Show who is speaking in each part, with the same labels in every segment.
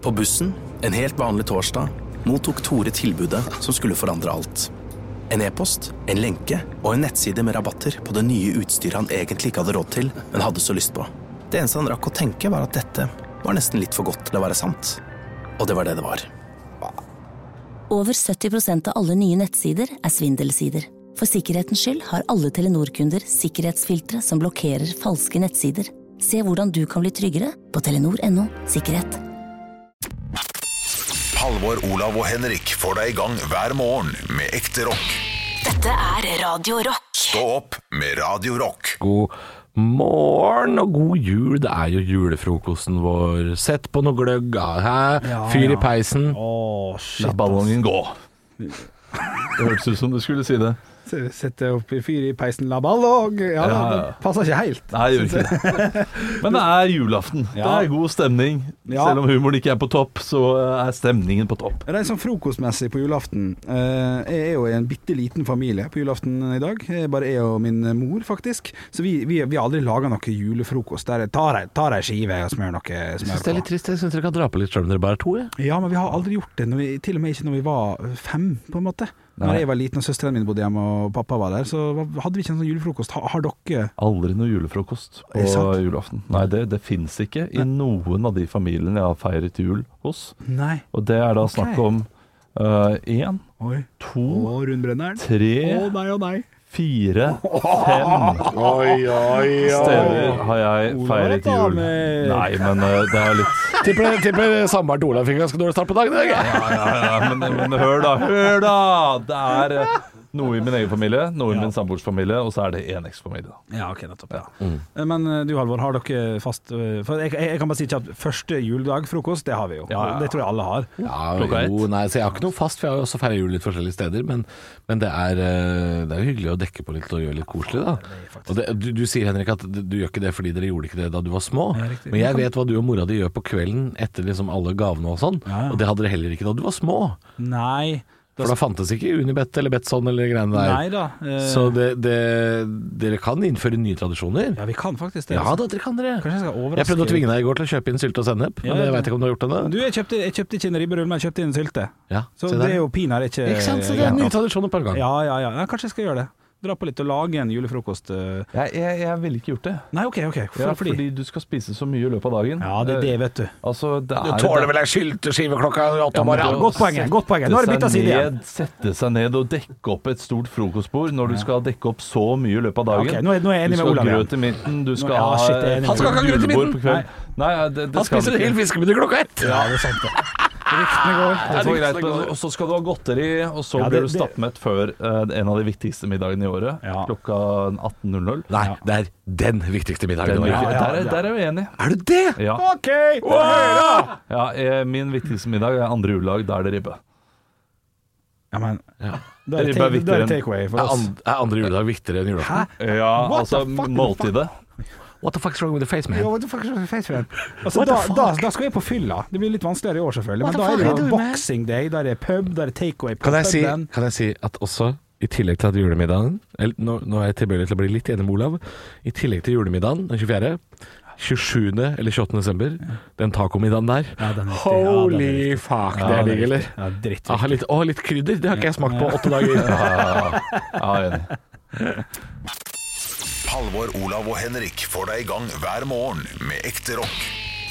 Speaker 1: På bussen, en helt vanlig torsdag, mottok Tore tilbudet som skulle forandre alt. En e-post, en lenke og en nettside med rabatter på det nye utstyret han egentlig ikke hadde råd til, men hadde så lyst på. Det eneste han rakk å tenke, var at dette var nesten litt for godt til å være sant. Og det var det det var.
Speaker 2: Over 70 av alle nye nettsider er svindelsider. For sikkerhetens skyld har alle Telenor-kunder sikkerhetsfiltre som blokkerer falske nettsider. Se hvordan du kan bli tryggere på telenor.no sikkerhet.
Speaker 3: Halvor, Olav og Henrik får deg i gang hver morgen med ekte rock.
Speaker 4: Dette er Radio Rock.
Speaker 3: Stå opp med Radio Rock.
Speaker 5: God morgen og god jul. Det er jo julefrokosten vår. Sett på noe gløgg. Hæ? Fyr i peisen.
Speaker 6: Åh,
Speaker 7: La
Speaker 6: shit.
Speaker 7: ballongen gå. Det hørtes ut som du skulle si det.
Speaker 6: Sette opp i fyr i peisen, la ballong. Ja, da,
Speaker 7: Ja, ja.
Speaker 6: det passer ikke helt.
Speaker 7: Nei, jeg gjør ikke det. Men det er julaften. Det er god stemning.
Speaker 6: Ja.
Speaker 7: Selv om humoren ikke er på topp, så er stemningen på topp.
Speaker 6: Rent sånn frokostmessig på julaften eh, Jeg er jo i en bitte liten familie på julaften i dag. Eh, Bare jeg og min mor, faktisk. Så vi, vi, vi har aldri laga noe julefrokost. Der jeg tar ei- tar ei skive og smører noe
Speaker 5: Syns
Speaker 6: smør
Speaker 5: det er litt trist. Jeg syns dere kan dra på litt sjøl om dere bare er to. Jeg.
Speaker 6: Ja, men vi har aldri gjort det, når vi, til og med ikke når vi var fem, på en måte.
Speaker 7: Nei.
Speaker 6: Når jeg var liten og søstrene mine bodde hjemme og pappa var der, så var- hadde vi ikke en sånn julefrokost. Har, har dere
Speaker 7: Aldri noe julefrokost på
Speaker 6: Er det sant?
Speaker 7: julaften. Nei, det, det fins ikke i noen av de familiene jeg har feiret jul hos.
Speaker 6: Nei.
Speaker 7: Og det er da
Speaker 6: Ok.
Speaker 7: snakk om én,
Speaker 6: Oi.
Speaker 7: to,
Speaker 6: Og rundbrenneren. Å
Speaker 7: tre,
Speaker 6: nei, å nei.
Speaker 7: fire, fem
Speaker 8: Oi, oi,
Speaker 7: steder har jeg feiret jul.
Speaker 6: damer.
Speaker 7: Nei, men eh, det er litt
Speaker 5: Tipper, tipper samboeren til Olav fikk ganske dårlig start på dagen. Jeg.
Speaker 7: Ja, ja, ja, men, men hør da, hør da! Det er eh, noe i min egen familie, noe i min samboers familie, og så er det en eksfamilie. da.
Speaker 6: Ja, ok, nettopp. Ja. Eh, Men eh, du Halvor, har dere fast eh, For jeg, jeg jeg kan bare si kjapt første juledag, frokost, det har vi jo.
Speaker 7: Ja, ja, ja.
Speaker 6: Det tror jeg alle har.
Speaker 5: Ja,
Speaker 7: Klokka ett.
Speaker 5: jo, nei, så jeg har ikke noe fast, for jeg har jo også feira jul litt forskjellige steder. Men, men det, er, eh, det er jo hyggelig å dekke på litt og gjøre litt koselig, da. Og det, du, du sier Henrik at du gjør ikke det fordi dere gjorde ikke det da du var små.
Speaker 6: Ja, riktig.
Speaker 5: Men jeg vet hva du og mora di gjør på kvelden etter liksom alle gavene og sånn.
Speaker 6: Ja, ja.
Speaker 5: Og det hadde dere heller ikke da du var små.
Speaker 6: Nei. Da,
Speaker 5: For da fantes ikke Unibet eller Betson eller greiene der.
Speaker 6: nei da. eh,
Speaker 5: Så det, det, dere kan innføre nye tradisjoner?
Speaker 6: Ja, vi kan faktisk det.
Speaker 5: Ja
Speaker 6: altså.
Speaker 5: da, dere kan dere.
Speaker 6: Kanskje jeg skal overraske
Speaker 5: Jeg prøvde å tvinge deg i går til å kjøpe inn sylte og sennep, men
Speaker 6: Ja,
Speaker 5: jeg
Speaker 6: ja.
Speaker 5: veit ikke om du har gjort det
Speaker 6: Du,
Speaker 5: ennå.
Speaker 6: jeg kjøpte, jeg kjøpte ikke en ribberull, men jeg kjøpte en sylte.
Speaker 5: Ja,
Speaker 6: Så
Speaker 5: se
Speaker 6: det
Speaker 5: der.
Speaker 6: er jo pinadø ikke
Speaker 5: Ikke sant, så det er
Speaker 6: greit
Speaker 5: nye
Speaker 6: nok.
Speaker 5: tradisjoner på en gang.
Speaker 6: Ja, ja, ja. ja. Kanskje jeg skal gjøre det. Dra på litt og lage en julefrokost. eh.
Speaker 7: Jeg, jeg, jeg ville ikke gjort det.
Speaker 6: Nei, OK, OK. For,
Speaker 7: Ja,
Speaker 6: fordi
Speaker 7: fordi du skal spise så mye i løpet av dagen.
Speaker 6: Ja, det er det, vet du.
Speaker 7: Altså, det er,
Speaker 5: Du tåler vel ei sylteskive klokka åtte
Speaker 7: Ja,
Speaker 5: om
Speaker 7: men
Speaker 5: morgenen?
Speaker 7: det-
Speaker 6: Godt poeng. godt poeng. Nå har det
Speaker 7: sette
Speaker 6: bytta
Speaker 7: seg
Speaker 6: side igjen.
Speaker 7: ned, sette seg ned og dekke opp et stort frokostbord når du skal dekke opp så mye i løpet av dagen.
Speaker 6: Ok, nå er- nå er jeg enig
Speaker 7: du
Speaker 6: med
Speaker 7: skal
Speaker 6: Olav
Speaker 7: ha
Speaker 6: igjen.
Speaker 7: grøt i midten, du skal
Speaker 6: ja,
Speaker 7: ha
Speaker 6: shit, jeg er enig
Speaker 5: Olav. Han
Speaker 6: med
Speaker 7: fullt
Speaker 5: skal ikke ha grøt i
Speaker 7: julebord
Speaker 5: midten.
Speaker 7: på kvelden. Nei, ja, det, det
Speaker 5: Han
Speaker 7: skal
Speaker 5: spiser en
Speaker 7: ikke.
Speaker 5: hel fiskebit klokka ett!
Speaker 6: Ja, det er sant, det. Ryktene går.
Speaker 7: Det var greit,
Speaker 5: Ryktene
Speaker 7: men,
Speaker 5: går.
Speaker 7: og så skal du ha godteri, og så
Speaker 6: Ja, det-
Speaker 7: blir du
Speaker 6: det-
Speaker 7: stappmett før eh, en av de viktigste middagene i året.
Speaker 6: Ja.
Speaker 7: Klokka 18.00.
Speaker 5: Nei, det er den viktigste middagen.
Speaker 7: Den
Speaker 5: i
Speaker 7: vil
Speaker 5: morgen.
Speaker 7: ikke-
Speaker 6: ja,
Speaker 7: Der, er- der er vi enige.
Speaker 5: Er du det?!
Speaker 7: Ja.
Speaker 6: OK! Ja,
Speaker 7: Ja, eh, min viktigste middag er andre juledag. Da er det ribbe.
Speaker 6: men
Speaker 5: Ja.
Speaker 6: Da er det
Speaker 7: Ribba
Speaker 6: take- da er
Speaker 7: er
Speaker 6: det
Speaker 7: viktigere enn-
Speaker 6: takeaway for
Speaker 5: Er,
Speaker 6: oss.
Speaker 5: and, er andre juledag viktigere enn julaften?
Speaker 7: Ja,
Speaker 6: What
Speaker 7: altså
Speaker 6: the fuck?
Speaker 7: måltidet.
Speaker 5: What the fuck is wrong with the face, man?
Speaker 6: Ja, what the fuck is your face, man? Altså, da, da, da skal jeg på fylla. Det blir litt vanskeligere i år, selvfølgelig. Men da er det jo boxing day, da er det pub, da er det takeaway på
Speaker 5: Kan jeg, si,
Speaker 6: puben.
Speaker 5: kan jeg si at også i tillegg til at julemiddagen eller, nå, nå er jeg tilbøyelig til å bli litt enig med Olav. I tillegg til julemiddagen den 24. 27. eller 28. desember, den tacomiddagen der
Speaker 6: Ja, den er riktig. Ja, den er
Speaker 5: Holy
Speaker 6: riktig.
Speaker 5: fuck,
Speaker 6: Ja,
Speaker 5: det er
Speaker 6: den er
Speaker 5: digg, eller?
Speaker 6: riktig. Ja, dritt.
Speaker 5: Ah, litt, å, litt krydder. Det har ikke jeg smakt på åtte dager.
Speaker 7: Ja, jeg er enig.
Speaker 3: Halvor, Olav og Henrik får deg i gang hver morgen med ekte rock.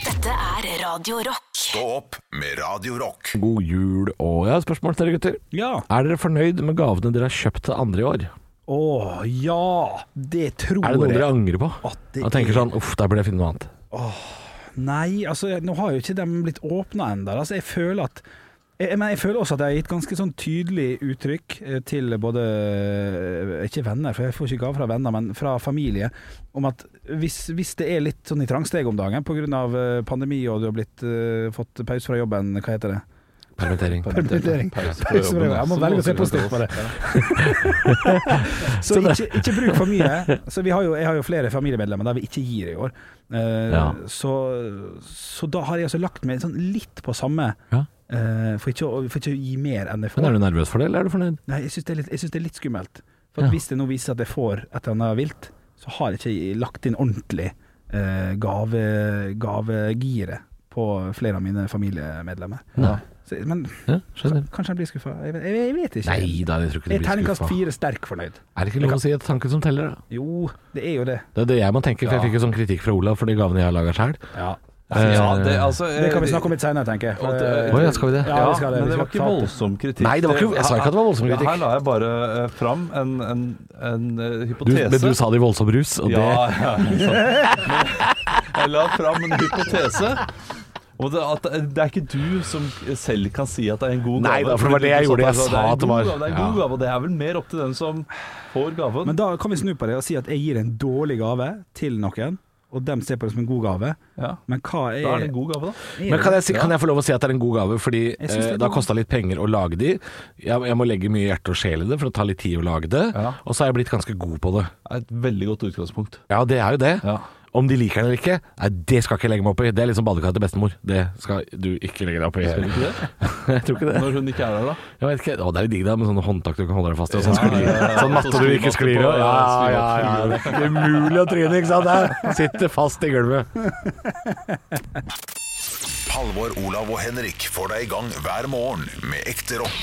Speaker 4: Dette er Radio Rock.
Speaker 3: Stå opp med Radio Rock.
Speaker 5: God jul og Jeg har et spørsmål til dere gutter.
Speaker 6: Ja.
Speaker 5: Er dere fornøyd med gavene dere har kjøpt til andre i år?
Speaker 6: Å ja, det tror
Speaker 5: Er det noe
Speaker 6: jeg.
Speaker 5: dere angrer på?
Speaker 6: At det
Speaker 5: Og tenker
Speaker 6: er-
Speaker 5: sånn uff, der burde jeg finne noe annet.
Speaker 6: Nei, altså, nå har jo ikke de blitt åpna ennå. Altså, jeg føler at jeg, jeg mener, jeg føler også at jeg har gitt ganske sånn tydelig uttrykk eh, til både eh, Ikke venner, for jeg får ikke gaver fra venner, men fra familie. Om at hvis, hvis det er litt sånn i trangsteg om dagen pga. eh, pandemi og du har blitt, eh, fått pause fra jobben, hva heter det?
Speaker 5: Permittering.
Speaker 6: Permittering.
Speaker 7: Pause fra
Speaker 6: Pause fra
Speaker 7: jobben,
Speaker 6: jobben. Jeg må
Speaker 7: så
Speaker 6: velge å se
Speaker 7: må du
Speaker 6: positivt på det. Så ikke, ikke bruk for mye. Så vi har jo, jeg har jo flere familiemedlemmer der vi ikke gir i år. Eh,
Speaker 5: Ja.
Speaker 6: så, så da har jeg altså lagt meg sånn litt på samme,
Speaker 5: Ja.
Speaker 6: eh, for, ikke å, for ikke å gi mer enn
Speaker 5: Men
Speaker 6: jeg får.
Speaker 5: er du nervøs for det, eller er du fornøyd?
Speaker 6: Nei, jeg syns det, er litt- jeg synes det er litt skummelt. For at
Speaker 5: Ja.
Speaker 6: Hvis det nå viser at jeg får et eller annet vilt, så har jeg ikke lagt inn ordentlig eh, gave, gavegiret på flere av mine familiemedlemmer.
Speaker 5: Nei.
Speaker 6: Så, men
Speaker 5: Ja, skjønner.
Speaker 6: kanskje jeg blir skuffa. Jeg, vet- jeg, jeg vet ikke.
Speaker 5: Nei da, jeg tror ikke
Speaker 6: jeg
Speaker 5: du
Speaker 6: er
Speaker 5: blir
Speaker 6: terningkast
Speaker 5: skuffa.
Speaker 6: fire sterk fornøyd.
Speaker 5: Er det ikke lov å si at tanken som teller, da?
Speaker 6: Jo, det er jo det.
Speaker 5: Det er det jeg må tenke, for jeg fikk jo sånn kritikk fra Olav for de gavene jeg har laga sjøl.
Speaker 8: Ja,
Speaker 5: Eh,
Speaker 8: det, altså,
Speaker 6: Det
Speaker 7: Eh,
Speaker 6: kan vi snakke om litt seinere, tenker jeg.
Speaker 8: Og
Speaker 6: For, eh,
Speaker 8: det-
Speaker 5: Å ja, skal vi det?
Speaker 6: Ja, vi skal det.
Speaker 7: men
Speaker 6: Vi
Speaker 7: det
Speaker 6: skal
Speaker 7: var ikke
Speaker 6: ta opp det.
Speaker 7: voldsom kritikk.
Speaker 5: Nei, det var ikke- jeg sa ikke at det var voldsom
Speaker 7: Her-
Speaker 5: kritikk.
Speaker 7: Her la jeg bare eh, fram en, en, en eh,
Speaker 5: Du,
Speaker 7: hypotese.
Speaker 5: men du sa det i voldsom rus, og det
Speaker 7: Ja, ja. ikke sant. Men Jeg la fram en hypotese. Og det, at eh, det er ikke du som selv kan si at det er en god gave.
Speaker 5: Nei da, for det var det jeg gjorde. Jeg sa at det var-
Speaker 7: altså, Det er en god gave, det er, en god
Speaker 5: Ja.
Speaker 7: gave, og det er vel mer opp til den som får gaven.
Speaker 6: Men da kan vi snu på det og si at jeg gir en dårlig gave til noen, og dem ser på det som en god gave.
Speaker 7: ja.
Speaker 6: Men hva er,
Speaker 7: Da er det en god gave, da.
Speaker 5: Men kan jeg, si, kan jeg få lov å si at det er en god gave? Fordi
Speaker 6: Jeg synes
Speaker 5: eh,
Speaker 6: det er
Speaker 5: det har
Speaker 6: god.
Speaker 5: kosta litt penger å lage de. Jeg, jeg må legge mye hjerte og sjel i det for å ta litt tid å lage det.
Speaker 7: Ja.
Speaker 5: Og så er jeg blitt ganske god på det.
Speaker 7: Det er Et veldig godt utgangspunkt.
Speaker 5: Ja, det er jo det.
Speaker 7: Ja.
Speaker 5: Om de liker den eller ikke, nei, det skal ikke jeg legge meg opp i. Det er liksom badekar til bestemor. Det skal du ikke legge deg opp i.
Speaker 7: Skal du ikke det?
Speaker 5: Jeg tror ikke det.
Speaker 7: Når hun ikke er der, da.
Speaker 5: Jeg vet ikke. Å, det er jo digg da, med sånne håndtak du kan holde deg fast i, og sånn
Speaker 7: Ja,
Speaker 5: skli.
Speaker 7: ja, ja.
Speaker 5: Sånn matte
Speaker 7: Så
Speaker 5: du ikke
Speaker 7: sklimatte
Speaker 5: sklir
Speaker 7: på,
Speaker 5: av. Ja,
Speaker 7: ja,
Speaker 5: ja, ja. Det
Speaker 7: sklimatte.
Speaker 5: er ikke umulig å tryne, ikke sant? Der. Sitter fast i gulvet.
Speaker 3: Halvor, Olav og Henrik får deg i gang hver morgen med ekte rock.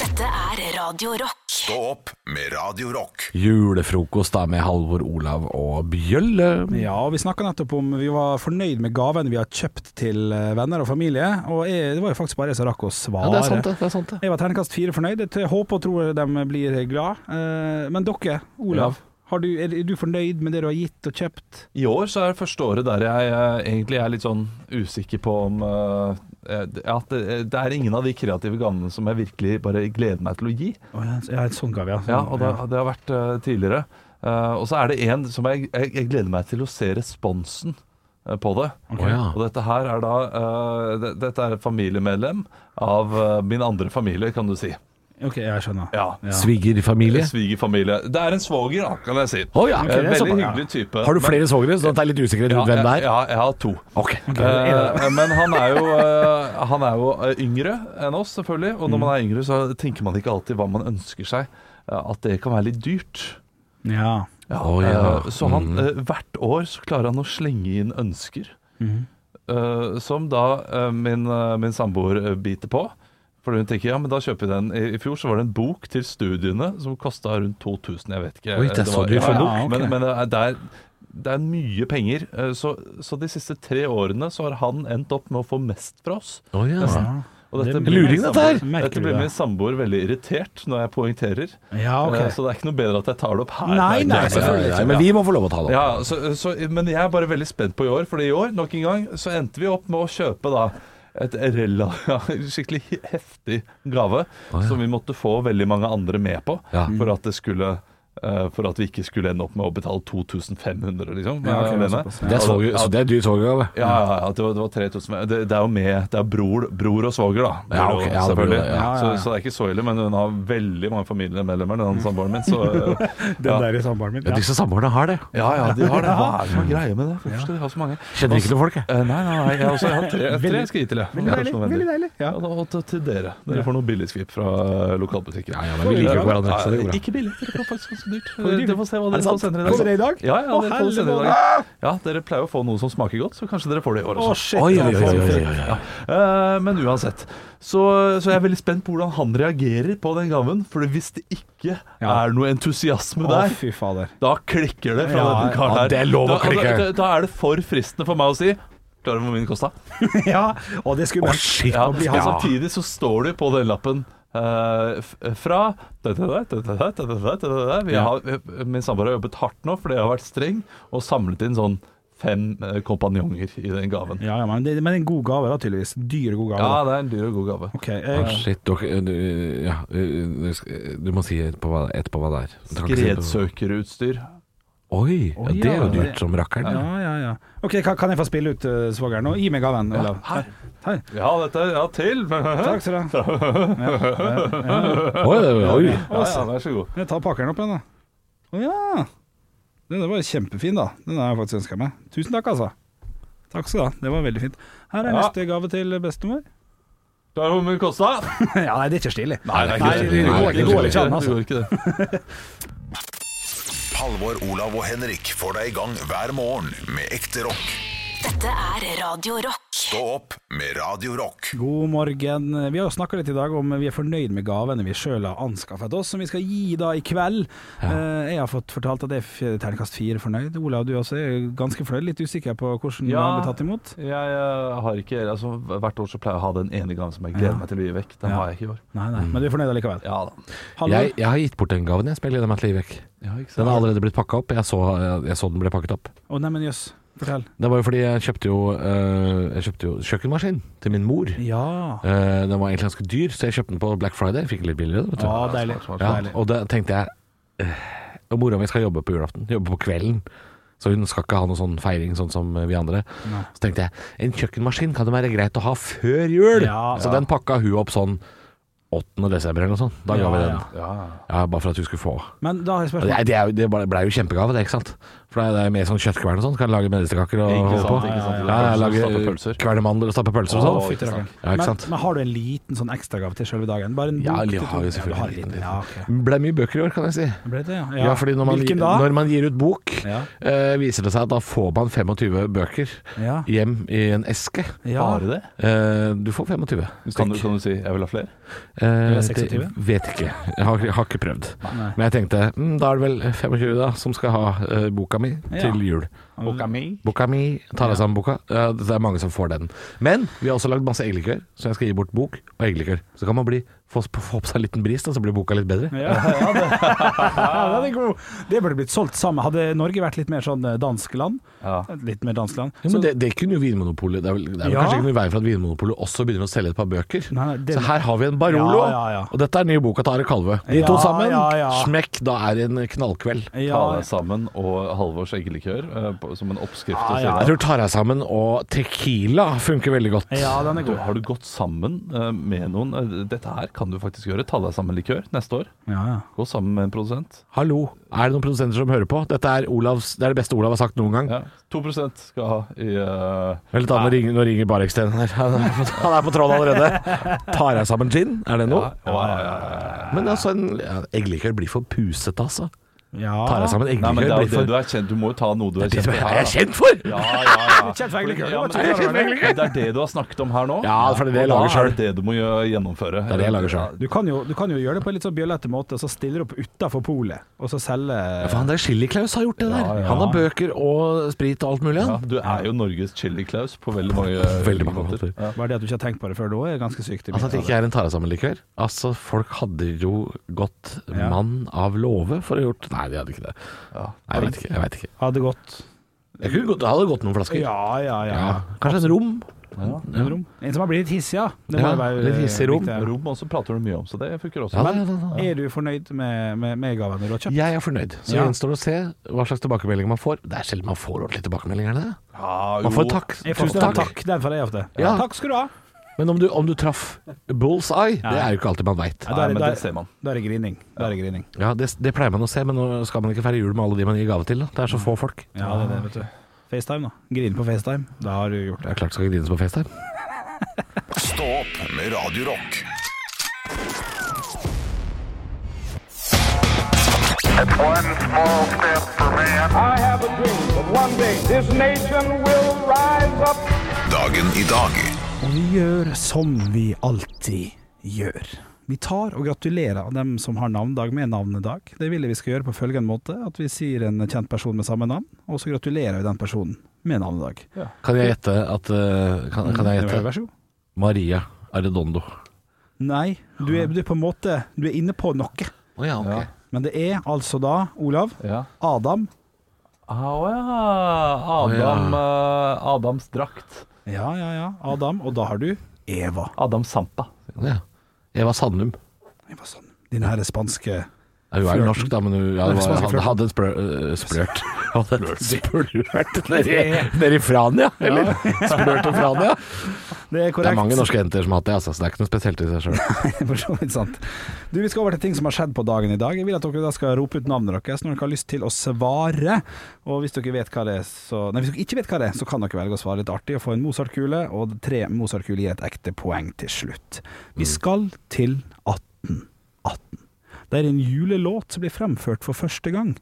Speaker 4: Dette er Radio Rock.
Speaker 3: Stå opp med Radio Rock.
Speaker 5: Julefrokost da med Halvor, Olav og Bjølle.
Speaker 6: Ja, og vi snakka nettopp om vi var fornøyd med gavene vi har kjøpt til eh, venner og familie, og jeg, det var jo faktisk bare jeg som rakk å svare.
Speaker 5: Ja, det er sant det. det, er sant det.
Speaker 6: Jeg var terningkast fire fornøyd. Jeg t- håper og tror de blir glad. Eh, Men dere, Olav, har du, er er du fornøyd med det du har gitt og kjøpt?
Speaker 7: I år så er det første året der jeg eh, egentlig er litt sånn usikker på om eh, eh, At det, det er ingen av de kreative gavene som jeg virkelig bare gleder meg til å gi.
Speaker 6: Å, ja, ja, en sånn gave, ja.
Speaker 7: Ja, og det, det har vært eh, tidligere. Eh, og så er det en som jeg, jeg, jeg gleder meg til å se responsen eh, på det.
Speaker 5: Å, ja.
Speaker 7: Og dette her er da eh, det, Dette er et familiemedlem av eh, min andre familie, kan du si.
Speaker 6: Ok, jeg skjønner.
Speaker 7: Ja.
Speaker 5: Svigerfamilie.
Speaker 7: Svigerfamilie. Det er en svoger, da, kan jeg si.
Speaker 5: Å ja.
Speaker 7: Eh,
Speaker 6: det er
Speaker 7: Veldig
Speaker 6: såpass, ja.
Speaker 7: hyggelig type.
Speaker 5: Har du flere svogere, sånn at det er litt usikkerhet
Speaker 7: Ja,
Speaker 5: rundt hvem det
Speaker 7: jeg-
Speaker 5: er?
Speaker 7: Ja, jeg har to.
Speaker 5: Ok.
Speaker 7: Eh, men han er jo, eh, han er jo eh, yngre enn oss, selvfølgelig. Og når man er yngre, så tenker man ikke alltid hva man ønsker seg. eh, At det kan være litt dyrt.
Speaker 6: Ja.
Speaker 5: Å, ja.
Speaker 7: Eh, Så han,
Speaker 5: Mm.
Speaker 7: eh, hvert år så klarer han å slenge inn ønsker.
Speaker 6: Mhm.
Speaker 7: eh, som da eh, min, eh, min samboer eh, biter på. For hun tenker, ja, men da kjøper vi den. I, I fjor så var det en bok til studiene som kosta rundt 2000. Jeg vet ikke. eh,
Speaker 5: Oi, det er så
Speaker 7: var-
Speaker 5: dyrt for en
Speaker 7: Ja,
Speaker 6: bok.
Speaker 7: ja,
Speaker 6: Ok.
Speaker 7: Men, men det, er, det, er, det er mye penger. eh, Så, så de siste tre årene så har han endt opp med å få mest fra oss.
Speaker 5: Å, ja.
Speaker 7: Og dette
Speaker 6: Det
Speaker 7: blir
Speaker 5: luring,
Speaker 7: min
Speaker 5: dette
Speaker 7: samboer-
Speaker 5: her!
Speaker 6: Merker
Speaker 7: Dette
Speaker 6: du
Speaker 7: blir
Speaker 6: det?
Speaker 7: min samboer veldig irritert når jeg poengterer.
Speaker 6: Ja,
Speaker 7: Eh,
Speaker 6: ok.
Speaker 7: Så det er ikke noe bedre at jeg tar det opp her.
Speaker 6: Nei, nei, selvfølgelig.
Speaker 5: Nei, men vi må få lov å ta det opp.
Speaker 7: Ja, så, så, men jeg er bare veldig spent på i år, for i år, nok en gang, så endte vi opp med å kjøpe da et rella, ja, skikkelig heftig gave
Speaker 5: ja.
Speaker 7: som vi måtte få veldig mange andre med på
Speaker 5: Ja.
Speaker 7: for, at det skulle, eh, for at vi ikke skulle ende opp med å betale 2500, liksom.
Speaker 6: Ja, ok,
Speaker 7: alene.
Speaker 6: såpass, ja.
Speaker 5: Det er, svoger,
Speaker 7: Ja,
Speaker 5: så det er dyr svogergave.
Speaker 7: ja, ja, ja, det var, det var 3000 det, det er jo med Det er bror, bror og svoger, da. Det er
Speaker 5: Ja, ok,
Speaker 7: jo
Speaker 5: ja, det blir
Speaker 7: selvfølgelig.
Speaker 5: det, ja.
Speaker 6: Ja, ja, ja.
Speaker 7: Så, så det er ikke så ille, men hun har veldig mange familiemedlemmer, den samboeren min. Så, eh,
Speaker 6: Den der i samboeren min.
Speaker 5: Ja,
Speaker 6: Ja.
Speaker 5: disse samboerne har det.
Speaker 7: ja ja, de har det. Hva er det som er greia med det? Hvorfor skal de ha så mange?
Speaker 5: Kjenner ikke noen folk, jeg.
Speaker 7: Eh, nei, nei, nei, jeg, også, jeg har tre, tre skritt til. jeg.
Speaker 6: Veldig deilig. Veldig deilig.
Speaker 7: Ja,
Speaker 6: Ja.
Speaker 7: og og til- til dere. Dere får noen billigskvip fra eh, lokalbutikken.
Speaker 5: Ja, ja, men vi liker jo hverandre, så det går
Speaker 7: Ja,
Speaker 5: bra.
Speaker 7: Ikke billig, dere får faktisk ganske dyrt. Eh, Dere får se hva
Speaker 6: det
Speaker 7: dere får
Speaker 6: sant?
Speaker 7: senere
Speaker 6: Kommer det i dag?
Speaker 7: Ja, ja,
Speaker 6: Å,
Speaker 7: dere får det senere i
Speaker 6: helvete.
Speaker 7: dag. Ja, dere pleier å få noe som smaker godt, så kanskje dere får det i år
Speaker 6: Å,
Speaker 7: også.
Speaker 6: shit.
Speaker 5: Oi,
Speaker 6: ja,
Speaker 5: oi, oi,
Speaker 6: faen,
Speaker 5: oi,
Speaker 6: shit.
Speaker 5: oi, oi.
Speaker 7: Ja. Eh, men uansett, så, så jeg er veldig spent på hvordan han reagerer på den gaven. For hvis det ikke
Speaker 6: Ja.
Speaker 7: er noe entusiasme
Speaker 6: Å,
Speaker 7: der,
Speaker 6: fy fader.
Speaker 7: da klikker det fra
Speaker 6: Ja,
Speaker 7: den karen
Speaker 5: ja,
Speaker 7: her.
Speaker 5: det er lov å
Speaker 7: Da- og
Speaker 5: klikke.
Speaker 7: Da, da, da er det for fristende for meg å si Klarer du hvor mye den kosta?
Speaker 6: Ja, og det
Speaker 5: Å,
Speaker 6: er skummelt.
Speaker 5: shit.
Speaker 7: Ja,
Speaker 6: blir
Speaker 7: og
Speaker 6: han-
Speaker 7: samtidig så står det på den lappen eh, f- fra det, det, det, det, det, det, det, det, det. Vi
Speaker 6: Ja.
Speaker 7: har, Min samboer har jobbet hardt nå, fordi jeg har vært streng, og samlet inn sånn fem eh, kompanjonger i den gaven.
Speaker 6: Ja, ja, men, det, men en god gave, da, tydeligvis. Dyr god gave. da.
Speaker 7: Ja, det er en dyr og god gave.
Speaker 6: Ok, eh, jeg,
Speaker 5: Shit, dere, du, eh, ja, du, eh, du må si etterpå hva, etterpå hva det er. Du kan ikke si det på-
Speaker 7: Skredsøkerutstyr.
Speaker 5: Oi, ja, det er jo
Speaker 6: Oi, ja.
Speaker 5: dyrt som rakkeren.
Speaker 6: ja,
Speaker 5: Ja.
Speaker 6: ja, ja. Ok, kan, kan jeg få spille ut uh, svogeren nå? Gi meg gaven, Olav.
Speaker 7: Ja, dette ja, til.
Speaker 6: Takk skal du ha.
Speaker 5: Oi, oi.
Speaker 7: Ja, ja, vær så god.
Speaker 6: Jeg tar pakkeren opp igjen, da. Å ja. Den der var kjempefin, da. Den har jeg faktisk ønska meg. Tusen takk, altså. Takk skal du ha. Det var veldig fint. Her er
Speaker 7: Ja.
Speaker 6: neste gave til bestemor.
Speaker 7: Klarer du hvor mye det kosta?
Speaker 6: ja, nei, det er ikke stilig.
Speaker 7: Nei, det
Speaker 5: Nei, det går- det går ikke
Speaker 6: an, altså.
Speaker 7: Det går ikke det.
Speaker 3: Halvor, Olav og Henrik får deg i gang hver morgen med ekte rock.
Speaker 4: Dette er Radio Rock.
Speaker 3: Stå opp med Radio Rock.
Speaker 6: God morgen. Vi har jo snakka litt i dag om vi er fornøyd med gavene vi sjøl har anskaffet oss, som vi skal gi da i kveld. Eh, Jeg har fått fortalt at jeg er f- terningkast fire fornøyd. Olav, du også er ganske fornøyd. Litt usikker på hvordan
Speaker 7: Ja.
Speaker 6: du har blitt tatt imot.
Speaker 7: Jeg, eh, har ikke, altså, hvert år så pleier jeg å ha den ene gaven som jeg
Speaker 6: Ja.
Speaker 7: gleder meg til å gi vekk. Den
Speaker 6: Ja.
Speaker 7: har jeg ikke i år.
Speaker 6: Nei, nei, men du er fornøyd allikevel.
Speaker 7: Ja da.
Speaker 6: Halvor?
Speaker 5: Jeg, jeg har gitt bort den gaven, jeg, som jeg gleder meg til å gi vekk. Den har allerede blitt pakka opp. Jeg så, eh, jeg så den ble pakket opp.
Speaker 6: Å, nei, men jøss. Fortell.
Speaker 5: Det var jo fordi jeg kjøpte jo, eh, jeg kjøpte jo kjøkkenmaskin til min mor.
Speaker 6: Ja.
Speaker 5: Eh, den var egentlig ganske dyr, så jeg kjøpte den på Black Friday. Fikk den litt billigere. Vet du.
Speaker 6: Ja, deilig.
Speaker 5: Ja,
Speaker 6: deilig.
Speaker 5: og da tenkte jeg eh, Og mora mi skal jobbe på julaften, jobbe på kvelden. Så hun skal ikke ha noen sånn feiring sånn som vi andre.
Speaker 6: Nei.
Speaker 5: Så tenkte jeg en kjøkkenmaskin kan det være greit å ha før jul.
Speaker 6: Ja,
Speaker 5: så
Speaker 6: ja.
Speaker 5: den pakka hun opp sånn 8. desember eller noe sånt. Da ga
Speaker 6: Ja,
Speaker 5: vi den.
Speaker 6: ja.
Speaker 7: Ja.
Speaker 5: Ja, bare for at hun skulle få.
Speaker 6: Men da har jeg et
Speaker 5: Og Det,
Speaker 6: spørsmål.
Speaker 5: er- det, er jo- det ble ble jo kjempegave, det, ikke sant? For det er- det er jo mer sånn kjøttkvern og sånn. Kan lage medisterkaker og
Speaker 7: Ikke
Speaker 5: holde
Speaker 7: sant,
Speaker 5: på.
Speaker 7: ikke sant.
Speaker 5: Ja, ja,
Speaker 7: Pølser,
Speaker 5: lage
Speaker 7: stappe pølser.
Speaker 5: kvernemandler og stappe pølser og
Speaker 7: Å,
Speaker 5: sånn.
Speaker 7: fytti rakkeren.
Speaker 5: Ja, ikke
Speaker 6: men,
Speaker 5: sant?
Speaker 6: men har du en liten sånn ekstragave til selve dagen? Bare en bok?
Speaker 5: Ja, jeg
Speaker 6: til to-
Speaker 5: har jo
Speaker 6: Ja, du har en
Speaker 5: selvfølgelig en
Speaker 6: liten.
Speaker 5: liten.
Speaker 6: Ja, ok.
Speaker 5: Ble mye bøker i år, kan jeg si.
Speaker 6: Ble det, ja.
Speaker 5: Ja, fordi når man,
Speaker 6: Hvilken da?
Speaker 5: når man gir ut bok,
Speaker 6: Ja.
Speaker 5: eh, viser det seg at da får man 25 bøker
Speaker 6: Ja.
Speaker 5: hjem i en eske.
Speaker 6: Ja.
Speaker 7: Bare det?
Speaker 5: Eh, du får 25.
Speaker 7: Kan
Speaker 5: stykk.
Speaker 7: du, kan du si 'jeg vil ha flere'?
Speaker 5: Eh,
Speaker 6: Eller 26?
Speaker 5: Det vet ikke. Jeg har, jeg har ikke prøvd.
Speaker 6: Nei.
Speaker 5: Men jeg tenkte mm, da er det vel 25 da som skal ha eh, boka mi
Speaker 6: Ja.
Speaker 5: til jul.
Speaker 6: Boka
Speaker 5: Boka mi tar jeg sammen boka. Eh, det er mange som får den. Men vi har også lagd masse eggelikør, så jeg skal gi bort bok og eggelikør. Så kan man bli, få, få opp seg en liten bris, da, så blir boka litt bedre.
Speaker 6: Ja, ja, det, ja, den er god. Det burde blitt solgt sammen. Hadde Norge vært litt mer sånn eh, dansk land
Speaker 7: Ja.
Speaker 6: Litt mer dansk land.
Speaker 5: Jo, men det, det kunne jo Vinmonopolet Det er, vel, det er vel
Speaker 6: Ja.
Speaker 5: kanskje ikke noe i veien for at Vinmonopolet også begynner å selge et par bøker.
Speaker 6: Nei, nei, det-
Speaker 5: Så her har vi en Barolo,
Speaker 6: Ja, ja, ja.
Speaker 5: og dette er den nye boka til Are Kalve. De to
Speaker 6: Ja,
Speaker 5: sammen,
Speaker 6: ja, ja.
Speaker 5: smekk, da er det en knallkveld.
Speaker 7: Ta
Speaker 6: Ja,
Speaker 7: deg sammen og Halvors eggelikør eh, på- som en oppskrift.
Speaker 6: Ja,
Speaker 7: å si
Speaker 6: ja.
Speaker 7: det.
Speaker 5: Jeg tror tar jeg sammen og tequila funker veldig godt.
Speaker 6: ja, den er
Speaker 7: Du,
Speaker 6: god.
Speaker 7: har du gått sammen eh, med noen eh, Dette her kan du faktisk gjøre. Ta deg sammen likør neste år.
Speaker 6: Ja, ja.
Speaker 7: Gå sammen med en produsent.
Speaker 5: Hallo, er det noen produsenter som hører på? Dette er, Olavs, det, er det beste Olav har sagt noen gang.
Speaker 7: Ja, 2 skal ha i eh,
Speaker 5: Vent litt, da, nå ringer, nå ringer Barekstein her. Han er på- han er på tråden allerede. Tar jeg sammen gin? Er det noe?
Speaker 7: ja, ja, ja, ja.
Speaker 5: Men altså, en ja, eggelikør blir for pusete, altså.
Speaker 6: ja.
Speaker 5: Tar jeg sammen
Speaker 7: Nei, men
Speaker 5: eggelikør
Speaker 7: det er jo
Speaker 5: blir
Speaker 7: det
Speaker 5: for
Speaker 7: du er kjent Du må jo ta noe du er
Speaker 5: Det
Speaker 7: kjent
Speaker 5: som
Speaker 7: for.
Speaker 5: jeg er kjent for!
Speaker 7: Ja, ja, ja.
Speaker 6: Kjent for eggelikør, det
Speaker 7: Ja,
Speaker 6: var
Speaker 7: men-
Speaker 6: ikke klar over det.
Speaker 7: Men det er det du har snakket om her nå.
Speaker 5: Ja, for det er det jeg
Speaker 7: Og
Speaker 5: lager
Speaker 7: da er
Speaker 5: selv.
Speaker 7: det det du må gjø- gjennomføre.
Speaker 5: Det er det jeg lager selv.
Speaker 6: Du kan, jo, du kan jo gjøre det på en litt sånn bjøllete måte, og så stiller du opp utafor polet, og så
Speaker 5: Ja,
Speaker 6: selger
Speaker 5: faen, det er Chili-Klaus har gjort det der. Han har bøker og sprit og alt mulig.
Speaker 7: Ja,
Speaker 5: han.
Speaker 7: du er jo Norges chili-klaus på veldig mange, eh,
Speaker 5: Veldig mange måter.
Speaker 6: Bare det at du ikke har tenkt på det før da, er ganske sykt. i
Speaker 5: Altså
Speaker 6: mitt
Speaker 5: At det ikke er en tare-sammen-likør. Altså, folk hadde jo gått
Speaker 6: Ja.
Speaker 5: mann av låve for å ha gjort Nei, de hadde ikke det. Nei, jeg vet ikke. Jeg vet ikke.
Speaker 6: hode. Hadde gått
Speaker 5: Jeg kunne gått, det hadde gått noen flasker.
Speaker 6: Ja, ja, ja.
Speaker 5: Ja. Kanskje et rom.
Speaker 6: En, rom. en som har blitt litt hissig, ja. Det må
Speaker 5: Ja,
Speaker 6: jo være,
Speaker 5: litt hissig rom.
Speaker 6: viktig her.
Speaker 7: Rom også prater du mye om, så det funker også.
Speaker 5: Ja,
Speaker 7: Men
Speaker 5: da, da, da.
Speaker 6: Er du fornøyd med, med, med gavene du har kjøpt?
Speaker 5: Jeg er fornøyd. Så
Speaker 6: Ja.
Speaker 5: gjenstår det å se hva slags tilbakemeldinger man får. Det er sjelden man får ordentlige tilbakemeldinger. er det det?
Speaker 7: Ja,
Speaker 5: Man
Speaker 7: jo.
Speaker 5: får takk.
Speaker 6: Jeg får
Speaker 5: takk.
Speaker 6: takk. Den får jeg ofte.
Speaker 5: Ja.
Speaker 6: Takk skal du ha.
Speaker 5: Men om du, om du traff bull's eye, det er jo ikke alltid man veit.
Speaker 7: Nei,
Speaker 6: Da er det-
Speaker 7: men
Speaker 6: da er-
Speaker 7: det ser man.
Speaker 6: Da er det grining. Da er det grining.
Speaker 5: Ja, det, det pleier man å se, men nå skal man ikke feire jul med alle de man gir gave til. Da. Det er så få folk.
Speaker 6: Ja, det er det, vet du. FaceTime, da. Grine på FaceTime. Da har du gjort
Speaker 5: Det
Speaker 6: det.
Speaker 5: er klart det skal grines på FaceTime.
Speaker 3: Stå opp med Radio Rock.
Speaker 9: I have a dream that one day this nation will rise up.
Speaker 3: Dagen i dag
Speaker 6: Og vi gjør som vi alltid gjør. Vi tar og gratulerer dem som har navnedag med navnedag. Det vil jeg vi skal gjøre på følgende måte, at vi sier en kjent person med samme navn, og så gratulerer vi den personen med navnedag.
Speaker 5: Kan jeg gjette at eh, Kan, kan jeg gjette
Speaker 6: Vær så god.
Speaker 5: Maria Arredondo.
Speaker 6: Nei, du er, du er på en måte Du er inne på noe.
Speaker 5: Å ja, ok.
Speaker 6: Men det er altså da, Olav,
Speaker 7: Ja.
Speaker 6: Adam
Speaker 7: Au, ja. Adam, eh, Adams drakt.
Speaker 6: Ja, ja, ja. Adam. Og da har du Eva.
Speaker 7: Adam Sampa.
Speaker 5: Ja. Eva Sandum.
Speaker 6: Eva sånn. Din herre spanske
Speaker 5: Ja, hun er jo norsk, da, men hun ja, det var,
Speaker 6: Spanske
Speaker 5: hadde,
Speaker 6: flørten.
Speaker 5: hadde en splør, øh, splørt. Hadde en splørt nedi, nedi Frania, eller? Splørt og Frania.
Speaker 6: Det er
Speaker 5: Det
Speaker 6: korrekt.
Speaker 5: er mange norske jenter som har hatt det, altså, så det er ikke noe spesielt i seg sjøl.
Speaker 6: For så vidt sant. Du, Vi skal over til ting som har skjedd på dagen i dag. Jeg vil at dere da skal rope ut navnet deres når dere har lyst til å svare. Og hvis dere, vet hva det er, så, nei, hvis dere ikke vet hva det er, så kan dere velge å svare litt artig og få en Mozart-kule. Og tre Mozart-kuler gir et ekte poeng til slutt. Vi skal til 1818. Det er en julelåt som blir fremført for første gang.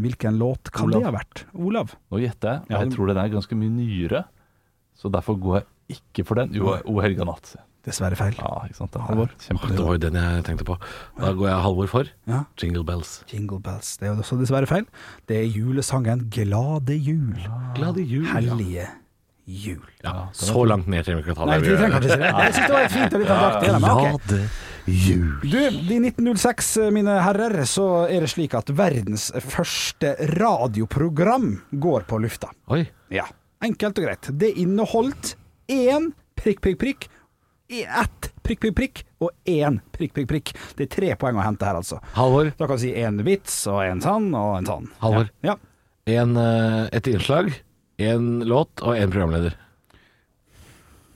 Speaker 6: Hvilken låt kan
Speaker 7: Olav.
Speaker 6: det ha vært? Olav?
Speaker 7: Nå gjetter jeg, og
Speaker 6: Ja,
Speaker 7: jeg
Speaker 6: du-
Speaker 7: tror den er ganske mye nyere. Så derfor går jeg ikke for den. Jo, O helga natt.
Speaker 6: Dessverre feil.
Speaker 7: Ja, ikke sant. Den er
Speaker 6: Halvor?
Speaker 7: kjempedårlig.
Speaker 5: Det var jo den jeg tenkte på. Da går jeg Halvor for.
Speaker 6: Ja.
Speaker 5: Jingle Bells.
Speaker 6: Jingle bells. Det er også dessverre feil. Det er julesangen 'Glade jul'.
Speaker 5: Ah. Glade jul.
Speaker 6: Hellige jul.
Speaker 5: Ja, så langt ned trenger vi ikke å ta
Speaker 6: Nei,
Speaker 5: det.
Speaker 6: vi trenger kanskje ikke si det. Jeg syns det var et fint og litt andaktig. det der, men ok.
Speaker 5: Glade jul.
Speaker 6: Du, i 1906, mine herrer, så er det slik at verdens første radioprogram går på lufta.
Speaker 5: Oi.
Speaker 6: Ja. Enkelt og greit. Det inneholdt én prikk, prikk, prikk, i ett prikk, prikk, prikk og én prikk, prikk, prikk. Det er tre poeng å hente her, altså.
Speaker 5: Halvor.
Speaker 6: Da kan du si én vits og én sann og en sann.
Speaker 5: Halvor.
Speaker 6: Ja.
Speaker 5: En, eh, et innslag, en låt og en programleder.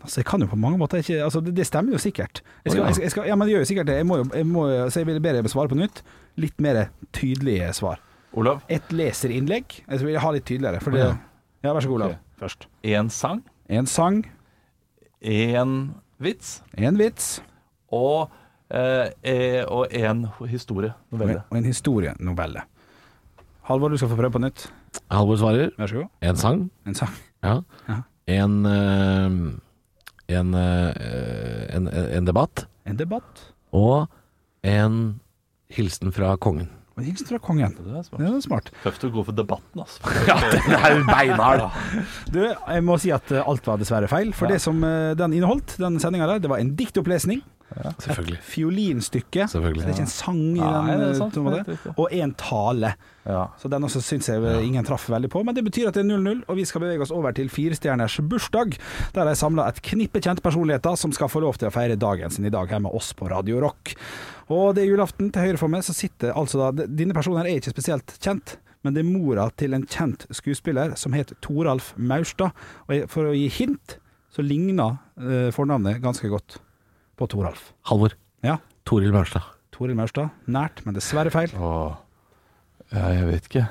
Speaker 6: Altså, jeg kan jo på mange måter ikke altså, det, det stemmer jo sikkert. Jeg skal,
Speaker 5: Å, ja.
Speaker 6: jeg skal, jeg skal, ja, men det gjør jo sikkert det. Jeg må jo, jeg må, jo- så jeg vil bedre svare på nytt. Litt mer tydelige svar.
Speaker 7: Olav,
Speaker 6: Et leserinnlegg. Jeg vil ha litt tydeligere. For det,
Speaker 7: Å,
Speaker 6: ja. vær så god, Olav.
Speaker 7: Ok.
Speaker 6: Først.
Speaker 7: én sang,
Speaker 6: En sang,
Speaker 7: én vits
Speaker 6: en vits
Speaker 7: og eh, eh, og én historie.
Speaker 6: og
Speaker 7: Novelle.
Speaker 6: en- og en historienovelle. Halvor, du skal få prøve på nytt.
Speaker 5: Halvor svarer.
Speaker 6: Vær så god.
Speaker 5: En sang.
Speaker 6: En sang.
Speaker 5: Ja.
Speaker 6: Ja.
Speaker 5: En, eh, en, eh, en, en debatt.
Speaker 6: En debatt.
Speaker 5: Og en hilsen fra kongen.
Speaker 6: Og en hilsen fra kongen.
Speaker 7: Det er smart.
Speaker 6: Det er smart.
Speaker 7: Tøft å gå for debatten, altså.
Speaker 5: Det er jo beinhard!
Speaker 6: Du, jeg må si at eh, alt var dessverre feil. For det som eh, den inneholdt, den sendinga der, det var en diktopplesning.
Speaker 5: Selvfølgelig.
Speaker 6: fiolinstykke. Så
Speaker 5: Selvfølgelig.
Speaker 6: det er ikke en sang i
Speaker 7: Nei,
Speaker 6: den, eh,
Speaker 7: det er sant,
Speaker 6: på en måte.
Speaker 7: helt riktig.
Speaker 6: og en tale.
Speaker 7: Ja.
Speaker 6: Så den også syns jeg eh, ingen traff veldig på. Men det betyr at det er 0-0, og vi skal bevege oss over til firestjerners bursdag, der de samla et knippe kjente personligheter som skal få lov til å feire dagen sin i dag her med oss på Radio Rock. Og det er julaften. Til høyre for meg så sitter altså da Dine personer er ikke spesielt kjent. Men det er mora til en kjent skuespiller som het Toralf Maurstad. Og jeg- for å gi hint, så ligner eh, fornavnet ganske godt på Toralf.
Speaker 5: Halvor.
Speaker 6: Ja.
Speaker 5: Toril Maurstad.
Speaker 6: Toril Maurstad. Nært, men dessverre feil.
Speaker 7: Åh. Ja, jeg vet ikke.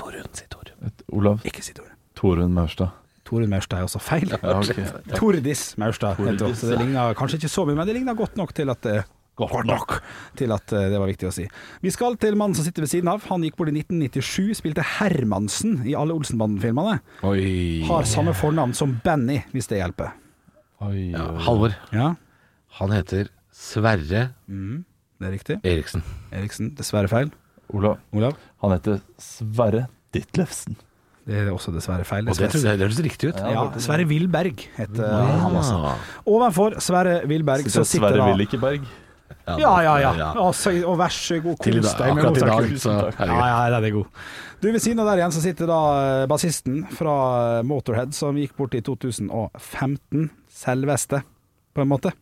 Speaker 5: Torunn, si Torunn.
Speaker 7: Et- Olav
Speaker 6: Ikke si Toril.
Speaker 7: Torunn Maurstad.
Speaker 6: Toril Maurstad er også feil.
Speaker 7: Ja, ok.
Speaker 6: Tordis Maurstad. heter hun.
Speaker 7: Tordis,
Speaker 6: Så det ligner kanskje ikke så mye, men det ligner godt nok til at det Godt nok til at eh, det var viktig å si. Vi skal til mannen som sitter ved siden av. Han gikk bort i 1997, spilte Hermansen i alle Olsenbanden-filmene.
Speaker 5: Oi.
Speaker 6: Har samme fornavn som Benny, hvis det hjelper.
Speaker 7: Oi,
Speaker 5: Ja,
Speaker 7: oi.
Speaker 5: Halvor.
Speaker 6: Ja,
Speaker 5: Han heter Sverre
Speaker 6: det er riktig.
Speaker 5: Eriksen.
Speaker 6: Eriksen, dessverre feil.
Speaker 7: Olav.
Speaker 6: Olav?
Speaker 7: Han heter Sverre Ditlevsen.
Speaker 6: Det er også dessverre feil.
Speaker 5: Og det
Speaker 6: Dessverre-
Speaker 5: tror jeg det høres riktig ut.
Speaker 6: Ja, Sverre Wilberg heter han altså.
Speaker 5: Ja.
Speaker 6: Ovenfor Sverre Wilberg så
Speaker 7: Sitter
Speaker 6: sitter
Speaker 7: Sverre
Speaker 6: da
Speaker 7: Willikeberg.
Speaker 6: Ja, ja, ja. Altså, og vær så god,
Speaker 5: Til i
Speaker 6: kos
Speaker 5: dag,
Speaker 6: deg med
Speaker 5: akkurat i dag,
Speaker 6: motorkultur.
Speaker 5: så
Speaker 6: Ja, ja, den er god. Du, Ved siden av der igjen så sitter da eh, bassisten fra eh, Motorhead, som gikk bort i 2015. Selveste, på en måte.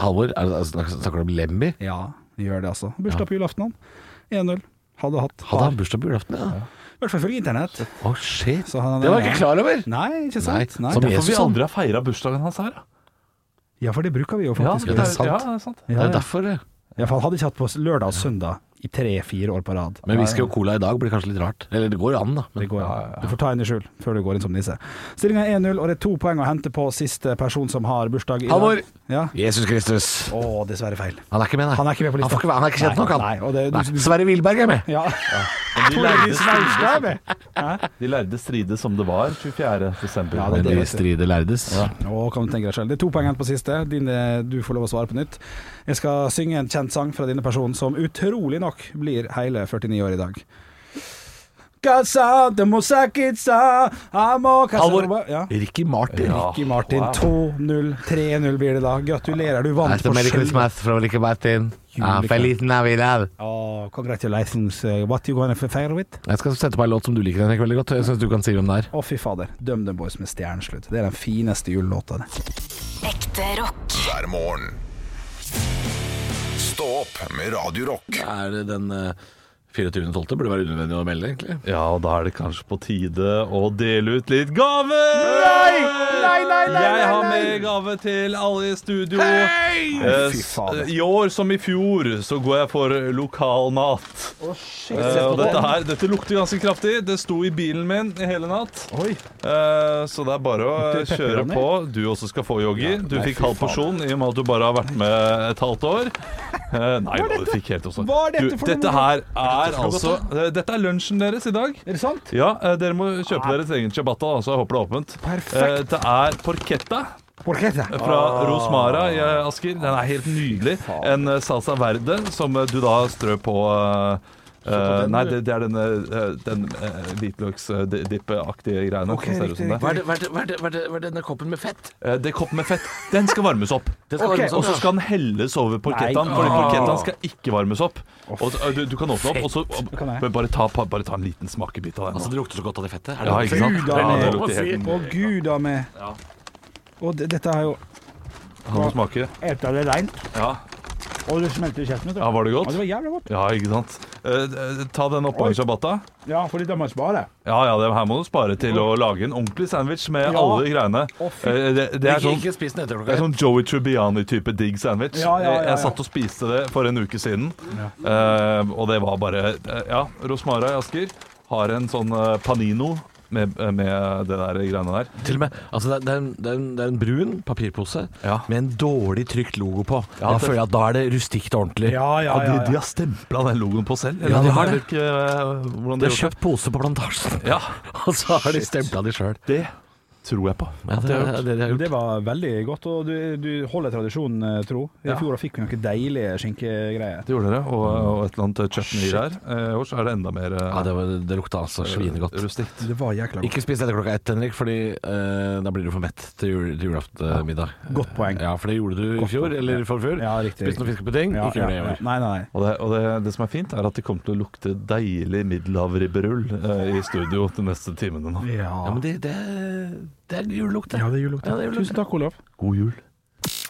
Speaker 5: Halvor, er det, altså, snakker du om Lemmy?
Speaker 6: Ja, gjør det altså. Bursdag på julaften, han. 1-0. Hadde hatt.
Speaker 5: Hadde han bursdag på julaften? Ja.
Speaker 6: I hvert fall ifølge internett.
Speaker 5: Å, shit.
Speaker 6: Så han- eh,
Speaker 5: det var jeg ikke klar over!
Speaker 6: Nei, ikke sant?
Speaker 5: Nei,
Speaker 6: Nei.
Speaker 5: som
Speaker 7: Derfor vi
Speaker 5: Jesus, han.
Speaker 7: aldri har feira bursdagen hans her. da.
Speaker 6: Ja, for det bruker vi jo
Speaker 7: Ja,
Speaker 6: faktisk.
Speaker 5: det er sant.
Speaker 7: Ja, det er sant.
Speaker 5: Det
Speaker 6: Ja,
Speaker 5: er
Speaker 6: ja.
Speaker 5: derfor, det.
Speaker 6: Ja, for han hadde ikke hatt på lørdag og søndag i tre-fire år på rad.
Speaker 5: Men whisky og cola i dag blir kanskje litt rart. Eller det går jo an, da.
Speaker 6: Det
Speaker 5: Men
Speaker 6: går an. Du får ta inn i skjul før du går inn som nisse. Stillinga er 1-0, og det er to poeng å hente på siste person som har bursdag i dag.
Speaker 5: Halvor!
Speaker 6: Ja.
Speaker 5: Jesus Kristus.
Speaker 6: Å, dessverre feil.
Speaker 5: Han er ikke med, nei.
Speaker 6: Han er ikke med på
Speaker 5: Han,
Speaker 6: lista.
Speaker 5: får ikke, være- han er ikke kjent
Speaker 6: Nei,
Speaker 5: nok, han.
Speaker 6: nei, og det- du-
Speaker 5: Nei, Sverre Wilberg er med.
Speaker 6: Ja.
Speaker 7: Men De lærde,
Speaker 6: Maurstad er med.
Speaker 7: strides- de lærde strides som det var 24. desember.
Speaker 6: Ja, det er det.
Speaker 5: De strider lærdes.
Speaker 6: Å, kan du tenke deg selv. Det er to poeng igjen på siste. Dine, du får lov å svare på nytt. Jeg skal synge en kjent sang fra denne personen som utrolig nok blir hele 49 år i dag. Kassa, de mosakitsa, amo, kassa-
Speaker 5: Halvor.
Speaker 6: Ja.
Speaker 5: Ricky Martin.
Speaker 6: Ricky Martin,
Speaker 7: Wow.
Speaker 6: 2-0, 3-0 blir det da. Gratulerer, du vant
Speaker 5: Hasta
Speaker 6: på
Speaker 5: Merry
Speaker 6: sjøl.
Speaker 5: Christmas fra Ricky Martin. Ja,
Speaker 6: Julekveld.
Speaker 5: Feliz Navidad.
Speaker 6: Oh, congratulations, uh, what you gonna fire with?
Speaker 5: Jeg skal sette på en låt som du liker, Henrik, veldig godt. Jeg syns du kan si hvem det er.
Speaker 6: Å, fy fader. Dum Dum Boys med stjerneslutt. Det er den fineste julelåta. det.
Speaker 4: Ekte rock.
Speaker 3: hver morgen. Stå opp med Radio Rock.
Speaker 5: Er det den eh, 24.12. burde være unødvendig å melde, egentlig.
Speaker 7: Ja, og da er det kanskje på tide å dele ut litt gaver! Nei! Nei, nei, nei, Jeg har med gave til alle i studio. Eh,
Speaker 6: Fy fader.
Speaker 7: I år som i fjor så går jeg for lokalmat. Eh, og dette, her, dette lukter ganske kraftig. Det sto i bilen min i hele natt.
Speaker 6: Oi.
Speaker 7: Eh, så det er bare å
Speaker 6: Lukter det
Speaker 7: kjøre
Speaker 6: pepperoni?
Speaker 7: på. Du også skal få, Yogi. Du
Speaker 6: nei,
Speaker 7: fikk
Speaker 6: fy
Speaker 7: halv porsjon i og med at du bare har vært med et halvt år. Eh, nei, da, du fikk helt også.
Speaker 6: hva er dette
Speaker 7: Du,
Speaker 6: for noe?
Speaker 7: dette her er altså eh, Dette er lunsjen deres i dag.
Speaker 6: Er det sant?
Speaker 7: Ja, eh, dere må kjøpe deres egen ciabatta, da, så jeg håper det er åpent.
Speaker 6: Ah. Perfekt. Ah.
Speaker 7: Eh, Det er porchetta.
Speaker 6: Porchetta.
Speaker 7: fra Rosmara i eh, Asker. Den er helt nydelig. En eh, salsa verde som eh, du da strø på eh, eh, nei, det, det er denne, eh, den uh, hvitløksdippeaktige greiene. som ser ut som det.
Speaker 8: Hva er, det, hva, er det, hva, er det, hva, er det, hva er denne koppen med fett?
Speaker 7: Eh, det koppen med fett, den skal varmes opp.
Speaker 8: Det skal
Speaker 6: Ok,
Speaker 8: varmes
Speaker 7: Og
Speaker 8: opp.
Speaker 7: så skal den helles over porkettaen,
Speaker 6: Nei. Ah.
Speaker 7: Fordi
Speaker 6: Åh.
Speaker 7: porkettaen skal ikke varmes opp. Og, så- eh, du, du kan åpne opp, og så
Speaker 6: kan jeg.
Speaker 7: men bare, ta, bare ta en liten smakebit av den.
Speaker 8: Altså,
Speaker 7: nå.
Speaker 8: det lukter så godt av det fettet. Er det
Speaker 7: Ja,
Speaker 8: noe
Speaker 7: ikke
Speaker 8: fett?
Speaker 7: sant?
Speaker 6: Gud,
Speaker 7: Ja,
Speaker 6: det
Speaker 7: det
Speaker 6: er-
Speaker 7: lukter helt
Speaker 6: Å gud a meg.
Speaker 8: Ja.
Speaker 6: Og det, dette er jo
Speaker 7: Han må smake.
Speaker 6: Eta det reint,
Speaker 7: Ja.
Speaker 6: og det smelter i kjeften. vet du.
Speaker 7: ja, var
Speaker 6: Ja,
Speaker 7: det
Speaker 6: det
Speaker 7: godt?
Speaker 6: var jævlig godt.
Speaker 7: Ja, ikke sant. Eh, eh, ta den oppå
Speaker 6: Oi.
Speaker 7: en ciabatta.
Speaker 6: Ja, for dette må jeg spare.
Speaker 7: Ja, ja, det her må du spare til å lage en ordentlig sandwich med
Speaker 6: Ja.
Speaker 7: alle greiene.
Speaker 6: Å, fy.
Speaker 7: Eh, det, det er
Speaker 8: Ikke,
Speaker 7: sånn
Speaker 8: ikke spis den etter
Speaker 7: Det
Speaker 8: klokka
Speaker 7: er
Speaker 8: ett.
Speaker 7: sånn Joey Tribbiani-type digg sandwich.
Speaker 6: Ja, ja, ja, ja.
Speaker 7: Jeg satt og spiste det for en uke siden, Eh, og det var bare eh, Ja, Rosmara i Asker har en sånn eh, panino med, eh, med det der greiene der.
Speaker 5: Til og med, altså det, er- det, er en, det, er en, det er en brun papirpose
Speaker 7: Ja.
Speaker 5: med en dårlig trykt logo på. da
Speaker 7: Ja, det-
Speaker 5: føler jeg at da er det rustikt og ordentlig.
Speaker 6: Ja, ja,
Speaker 7: de,
Speaker 6: ja.
Speaker 7: de
Speaker 6: ja.
Speaker 7: har stempla den logoen på selv.
Speaker 5: Ja, de har
Speaker 7: vet
Speaker 5: det.
Speaker 7: Ikke, eh, hvordan
Speaker 5: De har
Speaker 7: de har gjort det.
Speaker 5: kjøpt pose på plantasjen,
Speaker 7: Ja,
Speaker 5: og så har de stempla de sjøl.
Speaker 7: det tror jeg på.
Speaker 5: Ja,
Speaker 7: at
Speaker 5: det
Speaker 7: de har
Speaker 5: er
Speaker 7: gjort.
Speaker 5: det de har gjort.
Speaker 6: Det var veldig godt, og du, du holder tradisjonen eh, tro. I
Speaker 7: Ja.
Speaker 6: fjor da fikk vi noen deilige skinkegreier.
Speaker 7: Det gjorde dere, og, og et eller annet chutney der. Eh, I år så er Mm. det enda mer eh,
Speaker 5: Ja, det, var, det lukta altså svinegodt.
Speaker 7: rustikt.
Speaker 6: Det var jækla godt.
Speaker 5: Ikke spis dette klokka ett, Henrik, Fordi eh, da blir du for mett til, jul, til julaftenmiddag.
Speaker 6: Godt poeng.
Speaker 5: Ja, for det gjorde du i fjor, eller i forfjor.
Speaker 6: Ja, riktig.
Speaker 5: Spiste noen fiskepudding,
Speaker 6: Ja,
Speaker 5: ikke gjør det i
Speaker 6: ja, ja.
Speaker 5: år.
Speaker 6: Nei, nei, nei.
Speaker 7: Og, det, og det, det som er fint, er at det kommer til å lukte deilig middelhavribberull eh, i studio de neste timene nå.
Speaker 5: Ja, men det, det, det er julelukt, det.
Speaker 6: Ja, det er julelukt.
Speaker 5: Ja, det er julelukt.
Speaker 6: Tusen takk, Olav.
Speaker 7: God jul.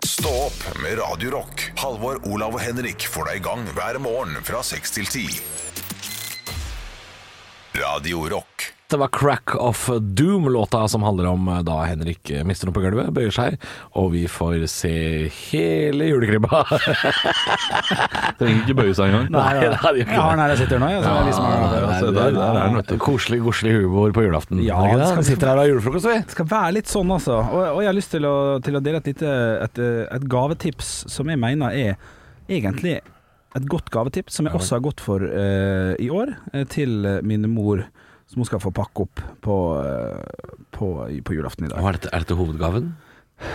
Speaker 3: Stå opp med Radio Rock. Halvor, Olav og Henrik får deg i gang hver morgen fra 6 til 10. Radio Rock.
Speaker 5: Det var Crack of Doom, låta som handler om eh, da Henrik eh, mister noe på gulvet, bøyer seg, og vi får se hele julekrybba.
Speaker 7: Trenger ikke bøye seg engang.
Speaker 5: Nei, det hadde jeg ikke.
Speaker 6: Jeg har den her jeg sitter nå, jeg. Så jeg viser meg den.
Speaker 7: altså, der- der er den, vet
Speaker 5: Koselig, koselig humor på julaften.
Speaker 6: Ja,
Speaker 5: Er det ikke det? vi
Speaker 6: skal vi-
Speaker 5: sitter her og har julefrokost, vi.
Speaker 6: Det skal være litt sånn, altså. Og, og jeg har lyst til å, til å dele et lite et, et gavetips som jeg mener er egentlig et godt gavetips, som jeg også har gått for eh, i år, eh, til eh, min mor, som hun skal få pakke opp på, eh, på, på julaften i dag.
Speaker 5: er, dette, hovedgaven?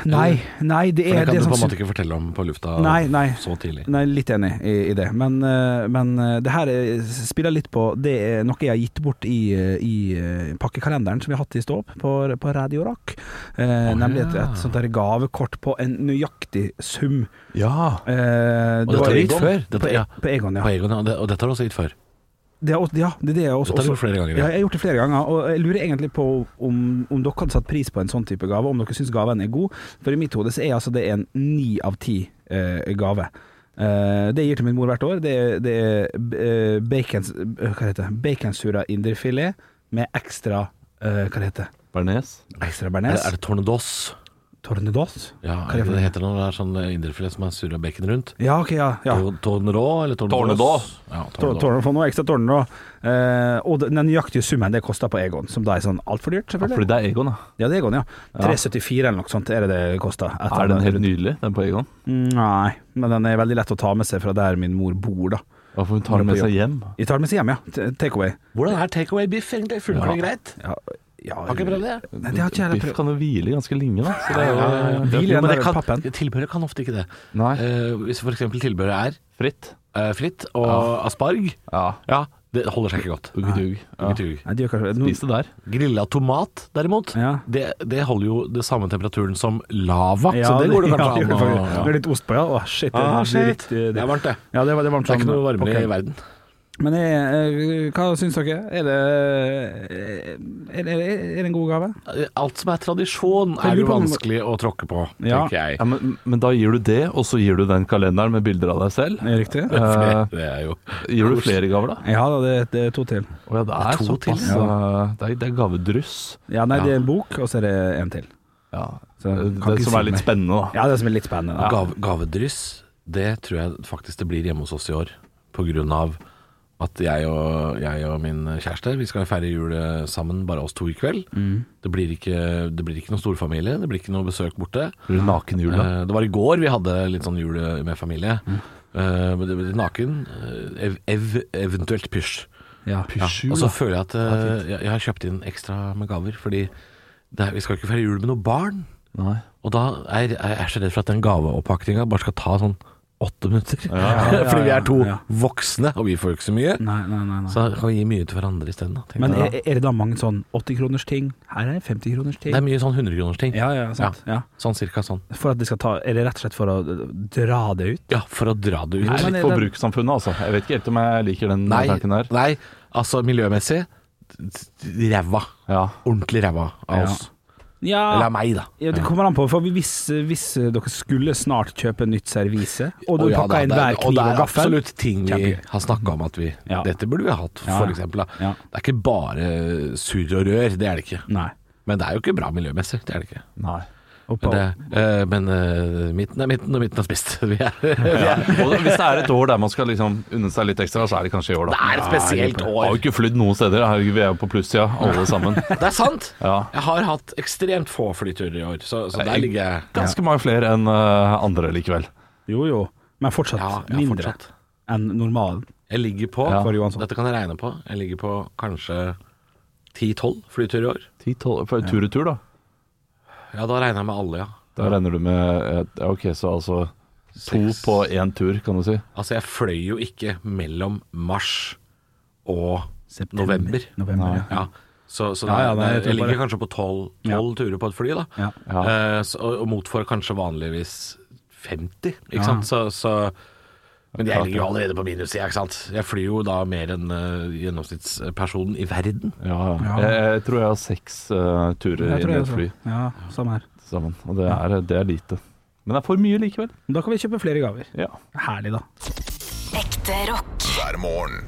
Speaker 6: Nei, nei, det
Speaker 5: For
Speaker 6: er
Speaker 5: det kan
Speaker 6: det
Speaker 5: du
Speaker 6: som
Speaker 5: på en
Speaker 6: sy-
Speaker 5: måte ikke fortelle om på lufta
Speaker 6: Nei, nei.
Speaker 5: så tidlig.
Speaker 6: Nei, litt enig i, i det, men, eh, men eh, det her eh, spiller litt på Det er noe jeg har gitt bort i, eh, i eh, pakkekalenderen som vi har hatt i stå opp på, på Radio Rock. Eh, nemlig et, et sånt der gavekort på en nøyaktig sum.
Speaker 5: Ja.
Speaker 6: Eh,
Speaker 5: Og dette
Speaker 6: var-
Speaker 5: har du gitt før?
Speaker 6: På,
Speaker 5: Dette,
Speaker 6: E-
Speaker 5: ja.
Speaker 6: på Egon,
Speaker 5: På
Speaker 6: ja.
Speaker 5: Egon, ja. Det- Og dette har du også gitt før?
Speaker 6: Det er, også- ja, det er det jeg også,
Speaker 5: Dette har du
Speaker 6: også
Speaker 5: gjort flere ganger?
Speaker 6: ja,
Speaker 5: Ja.
Speaker 6: jeg har gjort det flere ganger, og jeg lurer egentlig på om, om dere hadde satt pris på en sånn type gave, om dere syns gaven er god. For i mitt hode så er altså det en ni av ti eh, gave. Eh, det jeg gir til min mor hvert år, det er, det er eh, bacons, eh, hva heter det? baconsura indrefilet med ekstra eh, Hva heter det?
Speaker 7: Bernes.
Speaker 6: Ekstra
Speaker 5: Er,
Speaker 6: bearnés?
Speaker 5: det- er det Tornedos?
Speaker 6: Tornedos?
Speaker 5: Ja, er det,
Speaker 6: Hva er det for
Speaker 5: det
Speaker 6: noe?
Speaker 5: heter noe der sånn indrefilet som er surra bacon rundt?
Speaker 6: Ja, ok, ja. ja.
Speaker 5: Tor- Tornerå eller Tornedos?
Speaker 7: Tornedå.
Speaker 5: Ja,
Speaker 6: Tor-
Speaker 5: Tornedå.
Speaker 6: Torne, få noe ekstra tårner, da. Eh, og den den nøyaktige summen det koster på Egon, som da er sånn altfor dyrt,
Speaker 7: Ja, fordi
Speaker 6: selvfølgelig.
Speaker 7: det er Egon, da.
Speaker 6: Ja, det er Egon, ja. 374 eller noe sånt er det det koster. etter-
Speaker 7: Er den helt nydelig, den på Egon?
Speaker 6: Nei, men den er veldig lett å ta med seg fra der min mor bor, da.
Speaker 7: Ja, for hun tar den med seg hjem.
Speaker 6: Jeg tar den med seg hjem, ja. T- Take away.
Speaker 5: Hvordan er take away biff egentlig? Funker det greit?
Speaker 6: Ja, ja,
Speaker 5: Har ikke prøvd det?
Speaker 6: Nei, det har ikke jeg
Speaker 7: Biff
Speaker 6: prøvd.
Speaker 7: kan jo hvile ganske lenge, da. Så det er
Speaker 5: Ja,
Speaker 7: jo
Speaker 5: ja,
Speaker 6: Hvil
Speaker 5: ja.
Speaker 6: igjen
Speaker 5: Men
Speaker 6: der
Speaker 5: det
Speaker 6: ved
Speaker 5: kan,
Speaker 6: pappen.
Speaker 5: tilbehøret kan ofte ikke det.
Speaker 7: Nei.
Speaker 5: Eh, hvis f.eks. tilbehøret er
Speaker 7: Fritt.
Speaker 5: eh, fritt og asparg,
Speaker 7: Ja.
Speaker 5: ja, det holder seg ikke godt.
Speaker 7: Uggedug. Ja.
Speaker 5: Uggedug.
Speaker 6: Nei, det gjør kanskje
Speaker 7: Spis det der.
Speaker 5: Grilla tomat, derimot,
Speaker 6: Ja.
Speaker 5: det, det holder jo det samme temperaturen som lava,
Speaker 6: Ja,
Speaker 5: så det går det
Speaker 6: ja,
Speaker 5: kanskje
Speaker 6: gjør det
Speaker 5: an å
Speaker 6: faktisk. Når Det er litt ost på, ja. Å, shit. det
Speaker 5: Ah,
Speaker 6: blir
Speaker 5: shit.
Speaker 6: riktig-
Speaker 5: Det er varmt, det.
Speaker 6: Ja, det var, det var varmt
Speaker 5: Det er ikke
Speaker 6: sånn-
Speaker 5: noe varmere
Speaker 6: ok.
Speaker 5: i verden.
Speaker 6: Men jeg, eh, hva syns dere? Er det, er, det, er det en god gave?
Speaker 5: Eh, Alt som er tradisjon,
Speaker 6: Jeg
Speaker 5: er
Speaker 6: lurer
Speaker 5: jo
Speaker 6: på om-
Speaker 5: vanskelig å tråkke på,
Speaker 6: Ja.
Speaker 5: tenker jeg.
Speaker 7: Ja, men, men da gir du det, og så gir du den kalenderen med bilder av deg selv.
Speaker 6: Er det riktig? Eh,
Speaker 7: Ja.
Speaker 5: For det,
Speaker 7: eh,
Speaker 5: det er jo
Speaker 7: Gir du flere gaver, da?
Speaker 6: Ja da, det, det er to til.
Speaker 7: Å ja, det er
Speaker 5: To til,
Speaker 7: såpass. eh, Det er, det er gavedryss.
Speaker 6: Ja, nei, det er en bok, og så er det en til.
Speaker 7: Ja.
Speaker 6: Så kan
Speaker 7: Det
Speaker 6: ikke
Speaker 7: som
Speaker 6: si
Speaker 7: er litt
Speaker 6: mer.
Speaker 7: spennende, da.
Speaker 6: Ja, det som er litt spennende. da.
Speaker 5: Gave, gavedryss, det tror jeg faktisk det blir hjemme hos oss i år. På grunn av at jeg og, jeg og min kjæreste Vi skal feire jul eh, sammen, bare oss to i kveld. Det, blir ikke, det blir ikke noen storfamilie, det blir ikke noe besøk borte.
Speaker 7: Blir du naken i jula?
Speaker 5: Eh, Det var i går vi hadde litt sånn jul med familie. Eh, men det ble litt naken. eh, Ev, ev, eventuelt pysj.
Speaker 6: Ja.
Speaker 7: Pysjul,
Speaker 5: Og så
Speaker 7: da.
Speaker 5: føler jeg at eh, jeg, jeg har kjøpt inn ekstra med gaver, fordi det er, vi skal ikke feire jul med noe barn.
Speaker 7: Nei.
Speaker 5: Og da er jeg er så redd for at den gaveoppakninga bare skal ta sånn åtte minutter.
Speaker 6: ja,
Speaker 5: Fordi vi
Speaker 6: ja,
Speaker 5: er to
Speaker 6: ja.
Speaker 5: voksne, og vi får jo ikke så mye.
Speaker 6: Nei, nei, nei, nei.
Speaker 5: Så kan vi gi mye til hverandre isteden. da, tenker
Speaker 6: Men
Speaker 5: jeg.
Speaker 6: er, er det da mange sånn 80-kroners ting? Her er 50-kroners ting.
Speaker 5: Det er mye sånn 100-kroners ting.
Speaker 6: Ja, ja, sant. Ja.
Speaker 5: Sånn cirka sånn.
Speaker 6: For at de skal ta Er det rett og slett for å dra det ut?
Speaker 5: Ja, for å dra det ut.
Speaker 7: Det er
Speaker 6: men
Speaker 7: litt
Speaker 6: den-
Speaker 7: forbrukssamfunnet, altså. Jeg vet ikke helt om jeg liker den
Speaker 5: Nei,
Speaker 7: tanken der.
Speaker 5: nei, altså miljømessig ræva.
Speaker 7: Ja.
Speaker 5: Ordentlig ræva av
Speaker 6: Ja.
Speaker 5: oss. Eller
Speaker 6: Ja,
Speaker 5: av meg, da.
Speaker 6: ja det kommer an på. For hvis, hvis dere skulle snart kjøpe nytt servise, og du
Speaker 5: Å, ja, da,
Speaker 6: pakka inn
Speaker 5: det er-
Speaker 6: hver kniv og
Speaker 5: det er
Speaker 6: gaffel
Speaker 5: absolutt ting vi
Speaker 6: Kjempegøy.
Speaker 5: har snakka om at vi
Speaker 6: Ja.
Speaker 5: Dette burde vi ha hatt,
Speaker 6: Ja, ja.
Speaker 5: for eksempel. Da.
Speaker 6: Ja. Mm.
Speaker 5: Det er ikke bare surr og rør, det er det ikke.
Speaker 6: Nei.
Speaker 5: Men det er jo ikke bra miljømessig, det er det ikke.
Speaker 7: Nei.
Speaker 5: Men,
Speaker 6: Oppa,
Speaker 5: det, eh, men eh, midten er midten, og midten er spist. Vi er,
Speaker 7: Ja. Og hvis det er et år der man skal liksom unne seg litt ekstra, så er det kanskje i år,
Speaker 5: det
Speaker 7: da.
Speaker 5: er et spesielt
Speaker 7: Har jo
Speaker 5: år.
Speaker 7: ikke flydd noen steder. Herregud, vi er jo på plussida, alle sammen.
Speaker 5: Det er sant!
Speaker 7: Ja.
Speaker 5: Jeg har hatt ekstremt få flyturer i år, så, så der ligger jeg
Speaker 7: Ganske mange flere enn eh, andre likevel.
Speaker 6: Jo jo, men fortsatt
Speaker 5: Ja, ja,
Speaker 6: mindre
Speaker 5: fortsatt.
Speaker 6: enn normalen.
Speaker 5: Jeg ligger på
Speaker 6: For Johansson.
Speaker 5: Dette kan jeg regne på. Jeg ligger på kanskje 10-12 flyturer i år.
Speaker 7: 10-12 for tur-retur, da.
Speaker 5: Ja, da regner jeg med alle, ja.
Speaker 7: Da regner du med eh, ja, OK, så altså to
Speaker 5: Seks.
Speaker 7: på én tur, kan du si.
Speaker 5: Altså, jeg fløy jo ikke mellom mars og
Speaker 6: September.
Speaker 5: november.
Speaker 6: November, ja.
Speaker 5: Ja. Så, så
Speaker 6: Ja, ja,
Speaker 5: det-
Speaker 6: nei, jeg
Speaker 5: jeg,
Speaker 6: tror
Speaker 5: ligger
Speaker 6: bare-
Speaker 5: kanskje på tolv tolv turer på et fly, da.
Speaker 6: Ja.
Speaker 5: Eh, så, og- og motfor kanskje vanligvis 50, ikke sant. Så, så men jeg ligger jo allerede på minussida, ikke sant. Jeg flyr jo da mer enn eh, gjennomsnittspersonen i verden.
Speaker 7: Ja, ja.
Speaker 6: Ja.
Speaker 7: Jeg, jeg tror jeg har seks eh, turer
Speaker 6: Jeg
Speaker 7: inn
Speaker 6: tror
Speaker 7: i
Speaker 6: jeg
Speaker 7: et fly
Speaker 6: også. Ja, samme her.
Speaker 7: sammen. Og det er, det er lite. Men det er for mye likevel.
Speaker 6: Da kan vi kjøpe flere gaver.
Speaker 7: Ja.
Speaker 6: Herlig, da.
Speaker 4: Ekte rock.
Speaker 3: hver morgen.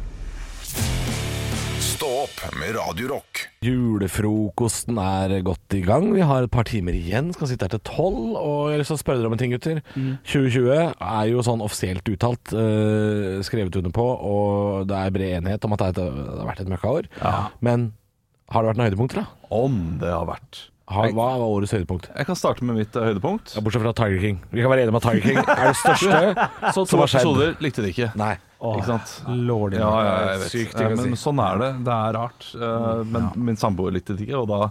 Speaker 3: Stå opp med Radio Rock.
Speaker 5: Julefrokosten er godt i gang. Vi har et par timer igjen, skal sitte her til tolv. Og jeg har lyst til å spørre dere om en ting, gutter. 2020 er jo sånn offisielt uttalt, eh, skrevet under på, og det er bred enighet om at det, er et, det har vært et møkkaår. Men har det vært noen høydepunkter, da?
Speaker 7: Om det har vært.
Speaker 5: Har, hva var årets høydepunkt?
Speaker 7: Jeg kan starte med mitt eh, høydepunkt.
Speaker 5: Ja, bortsett fra Tiger King. Vi kan være enige om at Tiger King er det største
Speaker 7: Så
Speaker 5: som
Speaker 7: to
Speaker 5: har skjedd.
Speaker 7: episoder likte de ikke.
Speaker 5: Nei.
Speaker 7: Ikke sant?
Speaker 6: Lord
Speaker 7: Ja, ja, jeg vet.
Speaker 5: Sykt ting å
Speaker 7: Eh, Men
Speaker 5: si.
Speaker 7: sånn er det. Det er rart. Eh, Men min samboer likte det ikke, og da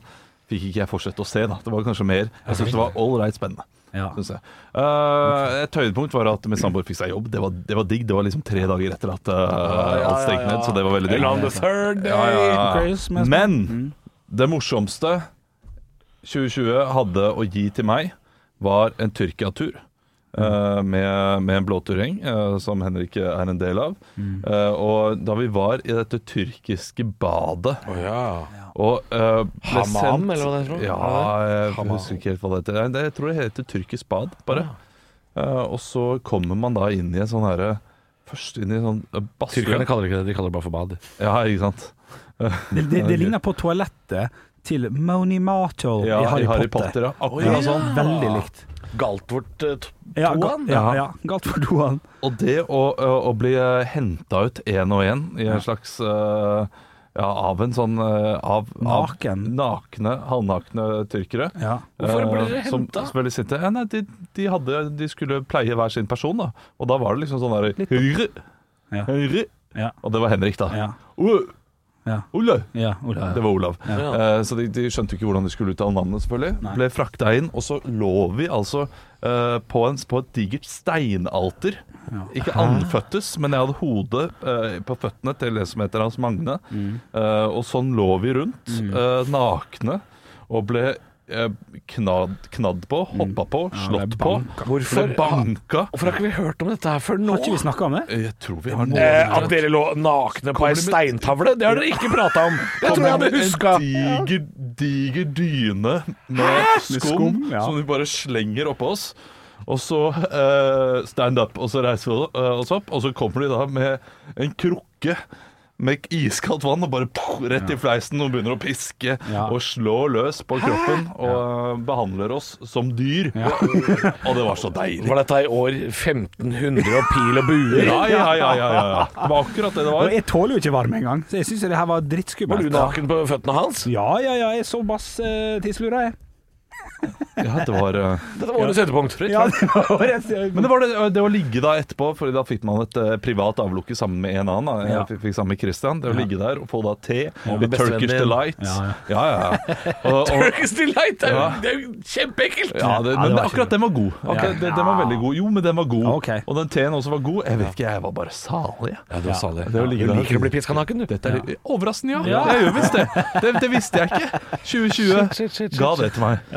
Speaker 7: fikk ikke jeg fortsette å se. da Det var kanskje mer Jeg syntes det var all right spennende.
Speaker 6: Ja.
Speaker 7: Synes jeg. Eh, et høydepunkt var at min samboer fikk seg jobb. Det var, det var digg. Det var liksom tre dager etter at eh, alt stengte ned, så det var veldig digg. Ja, ja, ja.
Speaker 6: Christmas. Mm.
Speaker 7: Men det morsomste 2020 hadde å gi til meg, var en Tyrkia-tur.
Speaker 6: Mm.
Speaker 7: eh, med, med en blåturgjeng eh, som Henrik er en del av.
Speaker 6: Mm.
Speaker 7: Eh, og da vi var i dette tyrkiske badet og, eh, ble
Speaker 5: Hamam,
Speaker 7: sendt-
Speaker 5: eller hva det heter for noe?
Speaker 7: Ja, jeg husker ikke helt hva det heter. Nei, det- Jeg tror det heter tyrkisk bad, bare. Eh, og så kommer man da inn i en sånn herre Først inn i en sånn eh, badstue.
Speaker 5: Tyrkerne kaller det ikke det, de kaller det bare for bad.
Speaker 7: Ja, ikke sant.
Speaker 6: Det, det, det ligner på toalettet til Moni Marshall
Speaker 7: Ja,
Speaker 6: i Harry, Potter.
Speaker 7: ja. Akkurat
Speaker 6: Ja,
Speaker 7: sånn.
Speaker 6: altså, Veldig likt.
Speaker 5: Galt vårt
Speaker 6: eh, Ja, ga,
Speaker 5: Toan?
Speaker 6: ja, ja, galt for toan.
Speaker 7: Og det å, å, å bli henta ut én og én i en slags eh, ja, Av en sånn eh, av,
Speaker 6: Naken.
Speaker 7: Av nakne, halvnakne tyrkere.
Speaker 6: Ja.
Speaker 7: Hvorfor ble dere henta? Ja, Eh, nei, de, de, hadde, de skulle pleie hver sin person, da. Og da var det liksom sånn der Høyre!
Speaker 6: Ja.
Speaker 7: Høyre!
Speaker 6: Ja.
Speaker 7: Og det var Henrik, da.
Speaker 6: Ja.
Speaker 7: O-
Speaker 6: Ja.
Speaker 7: Olav!
Speaker 6: Ja, Ola.
Speaker 7: Det var Olav. Eh, så de, de skjønte jo ikke hvordan de skulle ut av navnet, selvfølgelig. Ble frakta inn, og så lå vi altså eh, på, en, på et digert steinalter. Ikke andføttes, men jeg hadde hodet eh, på føttene til det som heter Hans Magne. Eh, og sånn lå vi rundt, eh, nakne, og ble eh, knadd, knadd på, hoppa på, slått på.
Speaker 5: Hvorfor- Ah.
Speaker 7: Ble banka.
Speaker 5: Hvorfor har ikke vi hørt om dette her før nå?
Speaker 6: Har ikke vi snakka om det?
Speaker 7: Jeg tror vi har
Speaker 5: Eh, at dere lå nakne på ei
Speaker 7: Kommer det med-
Speaker 5: steintavle, det har dere ikke prata om. Jeg tror jeg hadde huska.
Speaker 7: En diger, diger dyne med skum,
Speaker 6: skum, ja.
Speaker 7: som de bare slenger oppå oss. Og så eh, stand up, og så reiser vi eh, oss opp, og så kommer de da med en krukke med iskaldt vann og bare poff, rett i fleisen og begynner å piske
Speaker 6: Ja.
Speaker 7: og slå løs på kroppen og eh, behandler oss som dyr. og det var så deilig.
Speaker 5: Var dette i år 1500 og pil og buer?
Speaker 7: Ja, ja, ja, ja, ja. Det var akkurat det det
Speaker 6: Og
Speaker 7: var.
Speaker 6: jeg tåler jo ikke varme engang, så jeg syns det her var
Speaker 5: Var
Speaker 6: drittskummelt.
Speaker 5: du naken på føttene hans?
Speaker 6: Ja, ja, ja, jeg så bass eh, tisselura, jeg.
Speaker 7: Ja, det var eh,
Speaker 8: Dette var årets høydepunkt.
Speaker 6: Ja, det var rett
Speaker 7: Men det var det, det å ligge da etterpå, for da fikk man et eh, privat avlukke sammen med en annen. Da. Jeg
Speaker 6: Ja.
Speaker 7: fikk, fikk sammen med Christian. Det å ligge der og få da te,
Speaker 8: med
Speaker 7: litt Turkish
Speaker 8: bestevennen din.
Speaker 7: Delight.
Speaker 6: Ja,
Speaker 7: ja. ja. Og, og,
Speaker 8: Turkish Delight det er jo-
Speaker 7: Ja.
Speaker 8: det er jo kjempeekkelt!
Speaker 7: ja, det,
Speaker 6: Ja, det
Speaker 7: men
Speaker 6: var ikke
Speaker 7: akkurat den var god. Akkurat,
Speaker 6: Ja.
Speaker 7: den, den var veldig god. Jo, men den var god.
Speaker 6: Ok.
Speaker 7: Og den teen også var god. Jeg vet ikke, jeg var bare salig. jeg.
Speaker 5: Ja, det var salig.
Speaker 7: Det å ligge
Speaker 8: Du
Speaker 7: der-
Speaker 8: liker å bli piska naken, du.
Speaker 7: Dette er overraskende, ja. Jeg gjør visst det. det. Det visste jeg ikke. 2020 ga det til meg.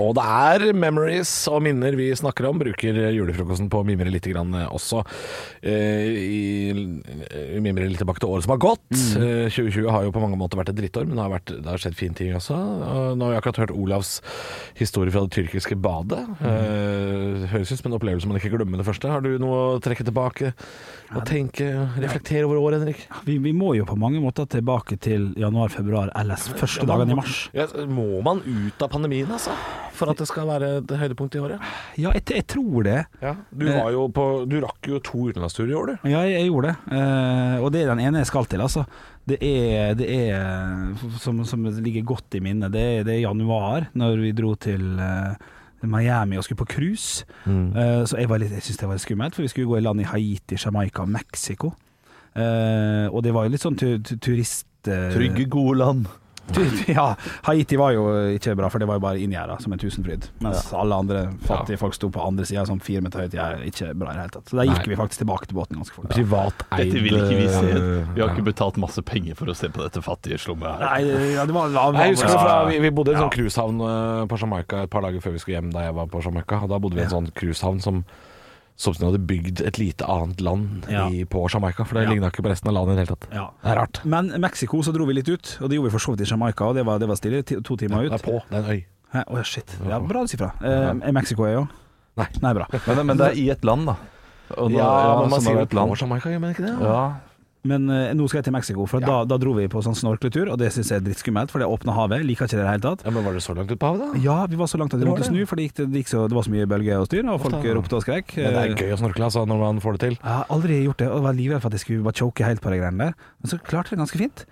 Speaker 5: Og det er memories og minner vi snakker om. Bruker julefrokosten på å mimre litt grann også. Eh, i, mimre litt tilbake til året som har gått.
Speaker 6: Mm.
Speaker 5: Eh, 2020 har jo på mange måter vært et drittår, men det har, vært, det har skjedd fine ting også. Og nå har vi akkurat hørt Olavs historie fra det tyrkiske badet.
Speaker 6: Mm.
Speaker 5: Eh, høres ut som en opplevelse man ikke glemmer med det første. Har du noe å trekke tilbake og tenke, reflektere over året, Henrik?
Speaker 6: Vi, vi må jo på mange måter tilbake til januar, februar, ellers første dagene i mars.
Speaker 5: Ja, må man ut av pandemien, altså? For at det skal være et høydepunkt i året?
Speaker 6: Ja, jeg, jeg tror det.
Speaker 5: Ja, du, var jo på, du rakk jo to utenlandsturer i år, du.
Speaker 6: Ja, jeg, jeg gjorde det. Eh, og det er den ene jeg skal til, altså. Det er, det er som, som ligger godt i minnet, det er, det er januar, når vi dro til eh, Miami og skulle på cruise. Eh, så jeg, var litt- jeg syntes det var litt skummelt, for vi skulle gå i land i Haiti, Jamaica og Mexico. Eh, og det var jo litt sånn tu, tu, turist... eh,
Speaker 7: Trygge, gode land.
Speaker 6: tu- Ja, Haiti var jo ikke bra, for det var jo bare inngjerda som en tusenfryd. Mens alle andre fattige folk sto på andre sida, sånn fire meter høyt. Jeg er ikke bra i det hele tatt. Så der gikk vi faktisk tilbake til båten ganske fort.
Speaker 5: Privateid
Speaker 7: Dette vil ikke vi se. Vi har ikke betalt masse penger for å se på dette fattige slummet her.
Speaker 6: Nei, det- ja, det var, var,
Speaker 5: Jeg husker det fra, vi, vi bodde i en
Speaker 6: Ja.
Speaker 5: sånn cruisehavn eh, på Jamaica et par dager før vi skulle hjem da jeg var på Jamaica. Og da bodde vi i en sånn cruisehavn som som om de hadde bygd et lite annet land
Speaker 6: Ja.
Speaker 5: i, på Jamaica. For det
Speaker 6: Ja.
Speaker 5: ligna ikke på resten av landet i det hele tatt.
Speaker 6: Ja.
Speaker 5: Det er rart.
Speaker 6: Men Mexico så dro vi litt ut, og det gjorde vi for så vidt i Jamaica, og det var, det var stille. ti- To timer
Speaker 5: Det
Speaker 6: ut.
Speaker 5: er på. Det er en øy.
Speaker 6: Hæ? Å, shit. Ja, bra du sier fra. Eh, er Mexico er jo
Speaker 5: Nei.
Speaker 6: Nei, bra.
Speaker 7: Men, men det er i et land, da. Og nå- ja, så nå er det et land.
Speaker 5: Jamaica, gjør man ikke det?
Speaker 7: Ja,
Speaker 6: Men eh, nå skal jeg til Mexico, for da, da dro vi på sånn snorkletur, og det syns jeg er drittskummelt, for det åpne havet. Liker ikke det i det hele tatt.
Speaker 5: Ja, men Var det så langt ut på havet, da?
Speaker 6: Ja, vi var så langt at vi
Speaker 5: Det var det.
Speaker 6: måtte snu, for det, gikk, det, gikk så, det var så mye bølger og styr, og folk ropte og skrek.
Speaker 5: Men det er gøy å snorkle altså, når man får det til.
Speaker 6: Jeg har aldri gjort det, og var livredd for at jeg skulle bare choke helt på de greiene der. Men så klarte jeg det ganske fint,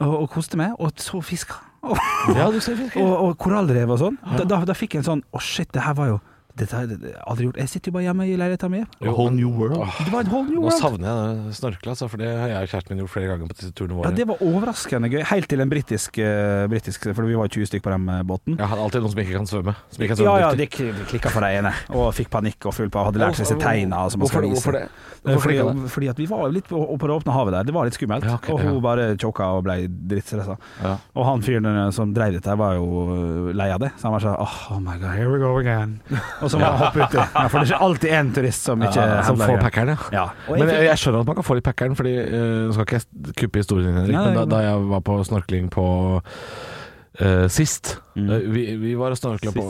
Speaker 6: og, og koste meg, og så fiska. Og,
Speaker 5: Ja, du ser fisk.
Speaker 6: og, og korallrev og sånn. Da, da, da fikk jeg en sånn Å, shit, det her var jo Dette har jeg det- aldri gjort. Jeg sitter jo bare hjemme i leiligheta mi.
Speaker 7: A whole new world.
Speaker 6: Det var en whole new
Speaker 5: Nå
Speaker 6: world.
Speaker 5: savner jeg det snorkle, altså, for det har jeg og kjæresten min gjort flere ganger på disse turene
Speaker 6: Ja,
Speaker 5: våre.
Speaker 6: det var overraskende gøy. Helt til en britisk, eh, britisk For vi var jo 20 stykker på den eh, båten.
Speaker 5: Jeg har alltid noen som ikke kan svømme. Som ikke kan
Speaker 6: Ja
Speaker 5: svømme
Speaker 6: ja,
Speaker 5: riktig.
Speaker 6: de klikka for deg ene, og fikk panikk og full på, hadde lært seg disse tegna. som man skal vise.
Speaker 5: Hvorfor det?
Speaker 6: Eh,
Speaker 5: Hvorfor
Speaker 6: Fordi,
Speaker 5: klikket det?
Speaker 6: fordi at vi var jo litt på, på det åpne havet der. Det var litt skummelt.
Speaker 5: Ja, ok,
Speaker 6: og hun
Speaker 5: ja.
Speaker 6: bare choka og ble drittstressa.
Speaker 7: Ja.
Speaker 6: Og han fyren eh, som dreiv dette, her var jo øh, lei av det. Så han var sånn oh, oh my god, here we go again. Og så må han hoppe uti. Ja, for det er ikke alltid én turist som ikke
Speaker 5: Ja, som
Speaker 6: handler
Speaker 5: får
Speaker 6: greit.
Speaker 5: packeren, ja.
Speaker 6: Ja. Og
Speaker 5: Men
Speaker 6: jeg,
Speaker 5: jeg,
Speaker 6: fikk-
Speaker 5: jeg skjønner at man kan få litt packeren, fordi eh, Nå skal ikke jeg kuppe historien din, Henrik,
Speaker 6: Nei,
Speaker 5: men da,
Speaker 6: nei,
Speaker 5: da jeg var på snorkling på eh, sist
Speaker 6: Mm.
Speaker 5: eh, vi, vi var og snorkla på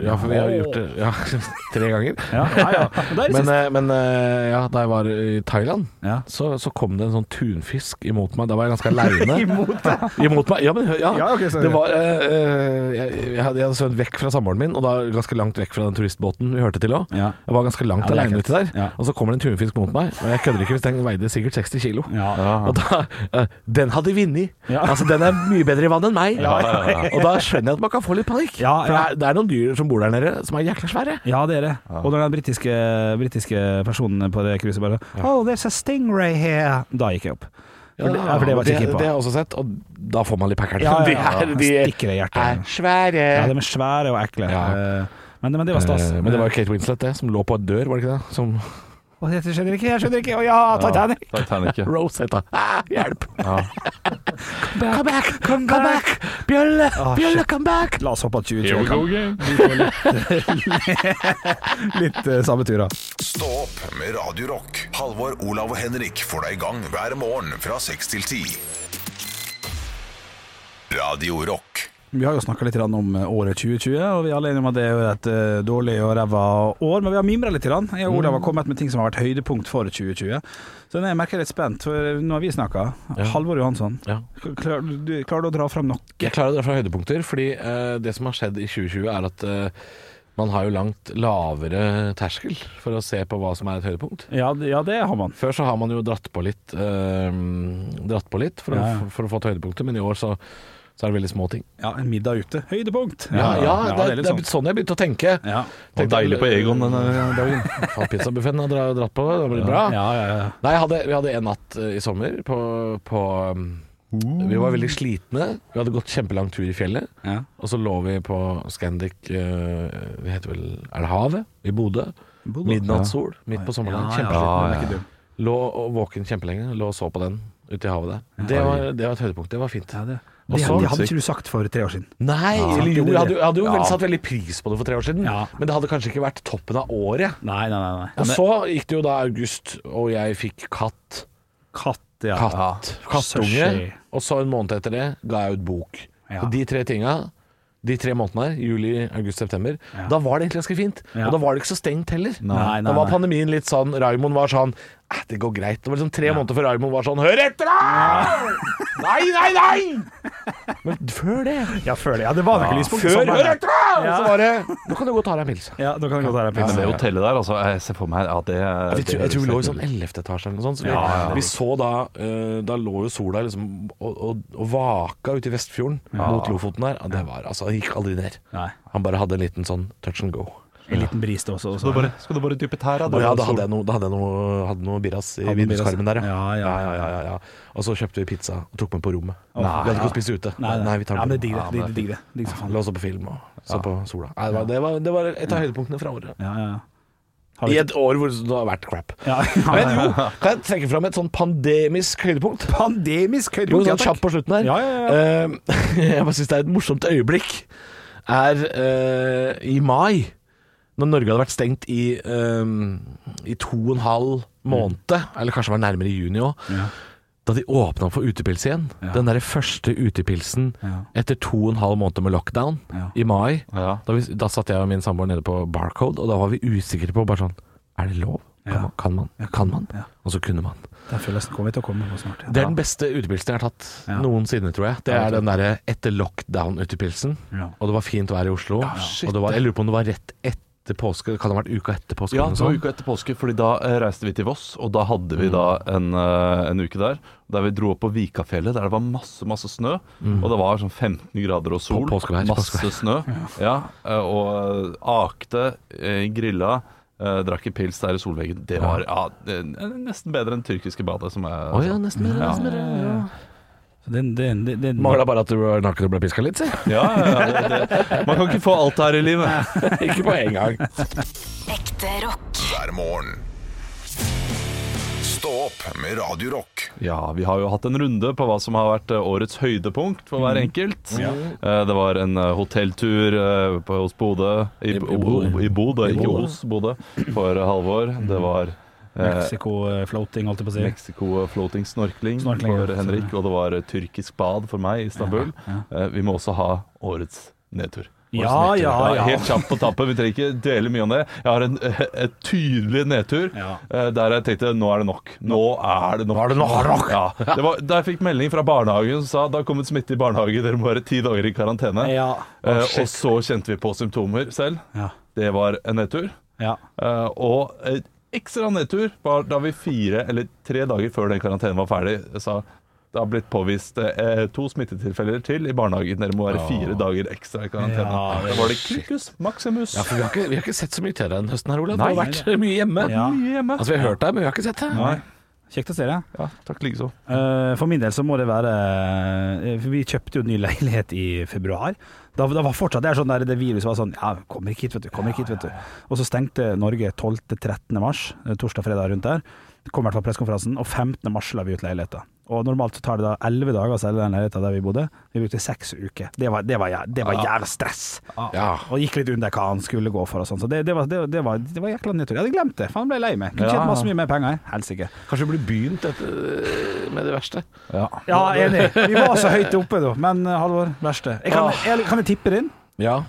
Speaker 5: Ja, for vi har gjort det ja, tre ganger.
Speaker 6: ja, ja, ja. Og da er det
Speaker 5: Men,
Speaker 6: sist.
Speaker 5: eh, men eh, ja, da jeg var i Thailand,
Speaker 6: Ja.
Speaker 5: så, så kom det en sånn tunfisk imot meg. Da var jeg ganske aleine.
Speaker 6: Imot det.
Speaker 5: Imot meg? Ja, men hør- ja.
Speaker 6: Ja, ok, sorry.
Speaker 5: det var eh, eh, jeg, jeg hadde jeg hadde svømt vekk fra samboeren min, og da ganske langt vekk fra den turistbåten vi hørte til òg.
Speaker 6: Ja.
Speaker 5: Jeg var ganske langt
Speaker 6: Ja, det er
Speaker 5: alene
Speaker 6: ekkelt.
Speaker 5: uti der,
Speaker 6: Ja.
Speaker 5: og så kommer det en tunfisk mot meg. Og jeg kødder ikke hvis den veide sikkert 60 kilo.
Speaker 6: Ja.
Speaker 5: Og da, eh, den hadde vunnet.
Speaker 6: Ja.
Speaker 5: Altså, den er mye bedre i vann enn meg. Og da skjønner jeg at man kan få litt panikk.
Speaker 6: Ja,
Speaker 5: For det
Speaker 6: ja.
Speaker 5: er, det er noen dyr som bor der nede som er jækla svære.
Speaker 6: Ja, det er det. Og når den britiske, britiske personen på det cruiset bare Oh, there's a stingray here. Da gikk jeg opp. For det, ja, for det var jeg ikke keen
Speaker 5: det
Speaker 6: på.
Speaker 5: har jeg også sett, og da får man litt packeren.
Speaker 6: Ja, ja, ja.
Speaker 5: De er, de
Speaker 6: Stikker i hjertet.
Speaker 5: er svære.
Speaker 6: Ja, de er svære og ekle.
Speaker 5: Ja.
Speaker 6: Eh, Men, men det var stas.
Speaker 5: Eh, Men det var jo Kate Winslet, det, som lå på en dør, var det ikke det? Som
Speaker 6: Å, Jeg skjønner ikke, jeg skjønner ikke! Å ja, Titanic!
Speaker 7: Titanic. ja.
Speaker 5: Rose het hun. Ah, hjelp! Come back! Come back! Bjølle! Bjølle, come back!
Speaker 6: La oss håpe at 2020 kan litt eh, samme tur, da.
Speaker 3: Stå opp med Radio Rock. Halvor, Olav og Henrik får deg i gang hver morgen fra 6 til 10. Radio Rock.
Speaker 6: Vi har jo snakka litt grann om eh, året 2020, og vi er alle enige om at det er jo et eh, dårlig og ræva år, men vi har mimra litt. Grann. Jeg og Olav har kommet med ting som har vært høydepunkt for 2020. Så nå er jeg merker jeg litt spent, for eh, nå har vi snakka. Halvor Johansson,
Speaker 5: Ja.
Speaker 6: klarer du, klarer du å dra fram nok?
Speaker 5: Jeg klarer det fra høydepunkter, fordi eh, det som har skjedd i 2020, er at eh, Man har jo langt lavere terskel for å se på hva som er et høydepunkt.
Speaker 6: Ja, d- ja, det har man.
Speaker 5: Før så har man jo dratt på litt, eh, dratt på litt for,
Speaker 6: Ja, ja.
Speaker 5: Å, for å få et høydepunkt, men i år så, så er det veldig små ting.
Speaker 6: Ja, En middag ute. Høydepunkt.
Speaker 5: Ja, ja, det, er, det
Speaker 6: litt
Speaker 5: er
Speaker 6: sånn.
Speaker 5: blitt sånn jeg begynte å tenke.
Speaker 6: Ja.
Speaker 7: Og deilig på Egon denne
Speaker 5: dagen. Faen, pizzabuffeten har dra- dratt på, det blir bra.
Speaker 6: Ja, ja, ja.
Speaker 5: Nei, jeg hadde, vi hadde en natt eh, i sommer på, på um, Vi var veldig slitne. Vi hadde gått kjempelang tur i fjellet.
Speaker 6: Ja.
Speaker 5: Og så lå vi på Scandic eh, Det heter vel Er det Havet? I Bodø. Midnattssol midt på sommeren.
Speaker 6: Ja, ja,
Speaker 5: Kjempesliten.
Speaker 6: den er ikke dum.
Speaker 5: Lå og våken kjempelenge. Lå og så på den ute i havet der. Det var, det var et høydepunkt. Det var fint.
Speaker 6: Ja, det.
Speaker 5: Og
Speaker 6: Det,
Speaker 5: så-
Speaker 6: det hadde ikke du sagt for tre år siden.
Speaker 5: Nei, eller jo,
Speaker 6: Det- det-
Speaker 5: jeg hadde, jo- jeg hadde jo
Speaker 6: Ja.
Speaker 5: vel satt veldig pris på det for tre år siden,
Speaker 6: Ja.
Speaker 5: men det hadde kanskje ikke vært toppen av året.
Speaker 6: Nei, nei, nei.
Speaker 5: Og så gikk det jo da august, og jeg fikk katt.
Speaker 6: Katt, ja.
Speaker 5: katt, kattunge,
Speaker 6: Sushi.
Speaker 5: og så en måned etter det ga jeg ut bok.
Speaker 6: Ja.
Speaker 5: Og de tre tinga, de tre månedene her, juli, august, september, da var det egentlig ganske fint.
Speaker 6: Ja.
Speaker 5: Og da var det ikke så stengt heller.
Speaker 6: Nei,
Speaker 5: da
Speaker 6: nei,
Speaker 5: var
Speaker 6: nei.
Speaker 5: pandemien litt sånn Raimond var sånn eh, Det går greit. Det var liksom tre måneder før Raimond var sånn Hør etter, da! Nei, nei, nei! Men før det
Speaker 6: Ja, før det. Ja, det var nok lyspunkt. i
Speaker 5: Før
Speaker 6: sommeren,
Speaker 5: Hør
Speaker 6: ja.
Speaker 5: etter, da! Og
Speaker 6: sånn, Ja.
Speaker 5: så var det Nå kan du gå og ta deg en pils.
Speaker 6: Ja, da kan det godt være en
Speaker 7: Men
Speaker 6: pils.
Speaker 7: det hotellet der, altså, jeg ser for meg at det
Speaker 5: Jeg tror, jeg tror vi lå i sånn
Speaker 7: det-
Speaker 5: 11. etasje eller noe sånt. Så vi,
Speaker 7: Ja, ja.
Speaker 5: vi så da eh, Da lå jo sola liksom og, og, og vaka ute i Vestfjorden mot Lofoten der. Ja, det var altså Han gikk aldri ned.
Speaker 6: Nei.
Speaker 5: Han bare hadde en liten sånn touch and go.
Speaker 6: En liten bris det også. også.
Speaker 7: Skal du bare, skal du bare dyppe tæra?
Speaker 5: Og ja, da hadde jeg noe, da hadde jeg noe, hadde noe birras i
Speaker 6: Hadde noe birras.
Speaker 5: vinduskarmen der,
Speaker 6: Ja, ja,
Speaker 5: ja, ja, ja, ja. Og så kjøpte vi pizza og tok med på rommet. vi hadde ikke fått spist ute.
Speaker 6: Nei, nei.
Speaker 5: vi tar
Speaker 6: ja, men det
Speaker 5: den.
Speaker 6: digger det. det. digger det. Digger så faen.
Speaker 5: La oss se på film og så på sola. Nei, det, var, det, var, det var et av høydepunktene fra året.
Speaker 6: Ja, ja, ja.
Speaker 5: I et år hvor det har vært crap.
Speaker 6: Ja,
Speaker 5: Men jo, kan jeg trekke fram et sånn pandemisk høydepunkt?
Speaker 6: Pandemisk
Speaker 5: Jo,
Speaker 6: høydepunkt,
Speaker 5: sånn kjapt på slutten her.
Speaker 6: Ja, ja,
Speaker 5: Eh, jeg bare syns det er et morsomt øyeblikk. Er eh, i mai, når Norge hadde vært stengt i, eh, i to og en halv måned, eller kanskje det var nærmere i juni òg,
Speaker 6: Mm. Ja.
Speaker 5: da de åpna for utepils igjen.
Speaker 6: Ja.
Speaker 5: Den derre første utepilsen
Speaker 6: Ja.
Speaker 5: etter to og en halv måned med lockdown
Speaker 6: Ja.
Speaker 5: i mai.
Speaker 7: Ja.
Speaker 5: Da, vi, da satt jeg og min samboer nede på Barcode, og da var vi usikre på bare sånn Er det lov? Kan
Speaker 6: Ja.
Speaker 5: man? Kan man? Kan man?
Speaker 6: Ja.
Speaker 5: Og så kunne man.
Speaker 6: Den følelsen kommer vi til å komme på snart.
Speaker 5: Det er den beste utepilsen jeg har tatt
Speaker 6: Ja.
Speaker 5: noensinne, tror jeg. Det
Speaker 6: Ja,
Speaker 5: er
Speaker 6: jeg tror
Speaker 5: den derre etter lockdown-utepilsen.
Speaker 6: Ja.
Speaker 5: Og det var fint vær i Oslo. og det var, jeg lurer på om det var rett etter påske. Kan det ha vært uka etter påske?
Speaker 7: Ja,
Speaker 5: eller noe
Speaker 7: det var
Speaker 5: sånt?
Speaker 7: uka etter påske, fordi da eh, reiste vi til Voss, og da hadde vi da en, eh, en uke der. Der vi dro opp på Vikafjellet, der det var masse, masse snø. Og det var sånn 15 grader og sol.
Speaker 5: På- påskevær,
Speaker 7: masse
Speaker 5: påskevær.
Speaker 7: snø. Ja, eh, og eh, akte, eh, grilla, eh, drakk en pils der i solveggen. Det var ja, det, er nesten bedre enn tyrkiske badet, som jeg
Speaker 5: Å ja, nesten mer.
Speaker 7: Ja.
Speaker 5: nesten mer, Ja.
Speaker 6: Den, den, den, den,
Speaker 5: Mangla bare at du var naken og ble piska litt, si.
Speaker 7: Ja, ja, ja, det, man kan ikke få alt her i livet.
Speaker 5: Ikke på en gang.
Speaker 4: Ekte rock.
Speaker 3: hver morgen. Stå opp med Radio Rock.
Speaker 7: Ja, vi har jo hatt en runde på hva som har vært eh, årets høydepunkt for
Speaker 5: Mm.
Speaker 7: hver enkelt. Eh, Det var en eh, hotelltur eh, på- hos Bodø I,
Speaker 5: I- i
Speaker 7: Bo-
Speaker 5: Bodø.
Speaker 7: i Bodø,
Speaker 5: I
Speaker 7: ikke
Speaker 5: Bodø.
Speaker 7: hos Bodø, for eh, Halvor. Det var eh,
Speaker 6: Mexico-floating, holdt jeg på å si.
Speaker 7: Mexico floating snorkling,
Speaker 6: Snorkling,
Speaker 7: for
Speaker 6: ja,
Speaker 7: Henrik,
Speaker 6: selvfølgelig.
Speaker 7: og det var eh, tyrkisk bad for meg i Istanbul. Eh, Vi må også ha årets nedtur.
Speaker 6: Ja, ja, ja.
Speaker 7: Helt kjapt på tappet. Vi trenger ikke dele mye om det. Jeg har en, eh, et tydelig nedtur
Speaker 6: Ja.
Speaker 7: eh, der jeg tenkte nå er det nok. Nå er det nok.
Speaker 5: Nå er det nok.
Speaker 7: Ja. Det var, da jeg fikk melding fra barnehagen som sa det har kommet smitte i barnehagen, dere må være ti dager i karantene.
Speaker 6: Ja.
Speaker 7: Eh, og så kjente vi på symptomer selv.
Speaker 6: Ja.
Speaker 7: Det var en nedtur.
Speaker 6: Ja.
Speaker 7: Eh, og et ekstra nedtur var da vi fire eller tre dager før den karantenen var ferdig, sa det har blitt påvist eh, to smittetilfeller til i barnehagen. Dere må være fire dager ekstra i karantene.
Speaker 6: Ja,
Speaker 7: da var det Klikkus Maximus.
Speaker 5: Ja, for vi har, ikke, vi har ikke sett så mye til deg denne høsten her, Olav. Du
Speaker 7: Nei.
Speaker 5: har vært mye hjemme.
Speaker 6: Ja.
Speaker 7: Mye hjemme.
Speaker 5: Altså, vi har hørt deg, men vi har ikke sett deg.
Speaker 7: Nei.
Speaker 6: Kjekt å se deg.
Speaker 7: Ja, takk likeså.
Speaker 6: Eh, For min del så må det være eh, for Vi kjøpte jo ny leilighet i februar. Da, da var fortsatt det er sånn der det viruset var sånn Ja, kommer ikke hit, vet du. Kommer ikke hit, vet du. Og så stengte Norge 12.-13. mars, eh, torsdag-fredag rundt der. Det kom i hvert fall pressekonferansen, og 15. mars la vi ut leiligheta. Og normalt så tar det da 11 dager å selge den leiligheta der vi bodde. Vi brukte seks uker. Det var, det var, jæ- det var jævla stress.
Speaker 5: Ja.
Speaker 6: Og gikk litt under hva han skulle gå for og sånn. Så det, det, var, det, det, var, det var jækla nedtur. Jeg hadde glemt det. Faen, ble lei meg. Kunne
Speaker 7: Ja.
Speaker 6: tjent masse mye mer penger. Helsike.
Speaker 5: Kanskje vi burde begynt dette med det verste.
Speaker 7: Ja.
Speaker 6: Ja, enig. Vi var så høyt oppe, da. Men eh, Halvor, verste. Jeg kan,
Speaker 5: Ah.
Speaker 6: jeg, kan jeg tippe det inn?
Speaker 5: Ja.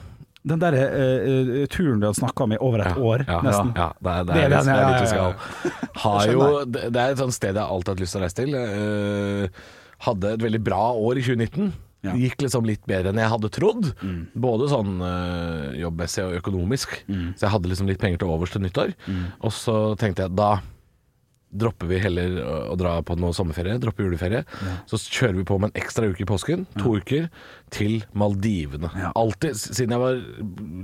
Speaker 6: Den der eh, eh, turen du hadde snakka om i over et år,
Speaker 5: Ja,
Speaker 6: nesten.
Speaker 5: Ja, ja, det er, det er,
Speaker 6: Det er den,
Speaker 5: det er
Speaker 6: ja,
Speaker 5: dit vi
Speaker 6: ja, ja, ja.
Speaker 5: skal. Har jo,
Speaker 6: skjønner
Speaker 5: det det er et sånt sted jeg alltid har hatt lyst til å reise til. Eh, hadde et veldig bra år i 2019.
Speaker 6: Ja. Mm.
Speaker 5: Det gikk liksom litt bedre enn jeg hadde trodd. Både sånn øh, jobbmessig og økonomisk.
Speaker 6: Mm.
Speaker 5: Så jeg hadde liksom litt penger til overs til nyttår. Og så tenkte jeg da dropper vi heller å, å dra på noe sommerferie, dropper juleferie. Så kjører vi på med en ekstra uke i påsken, to uker, til Maldivene.
Speaker 6: Ja.
Speaker 5: Alltid, s- siden jeg var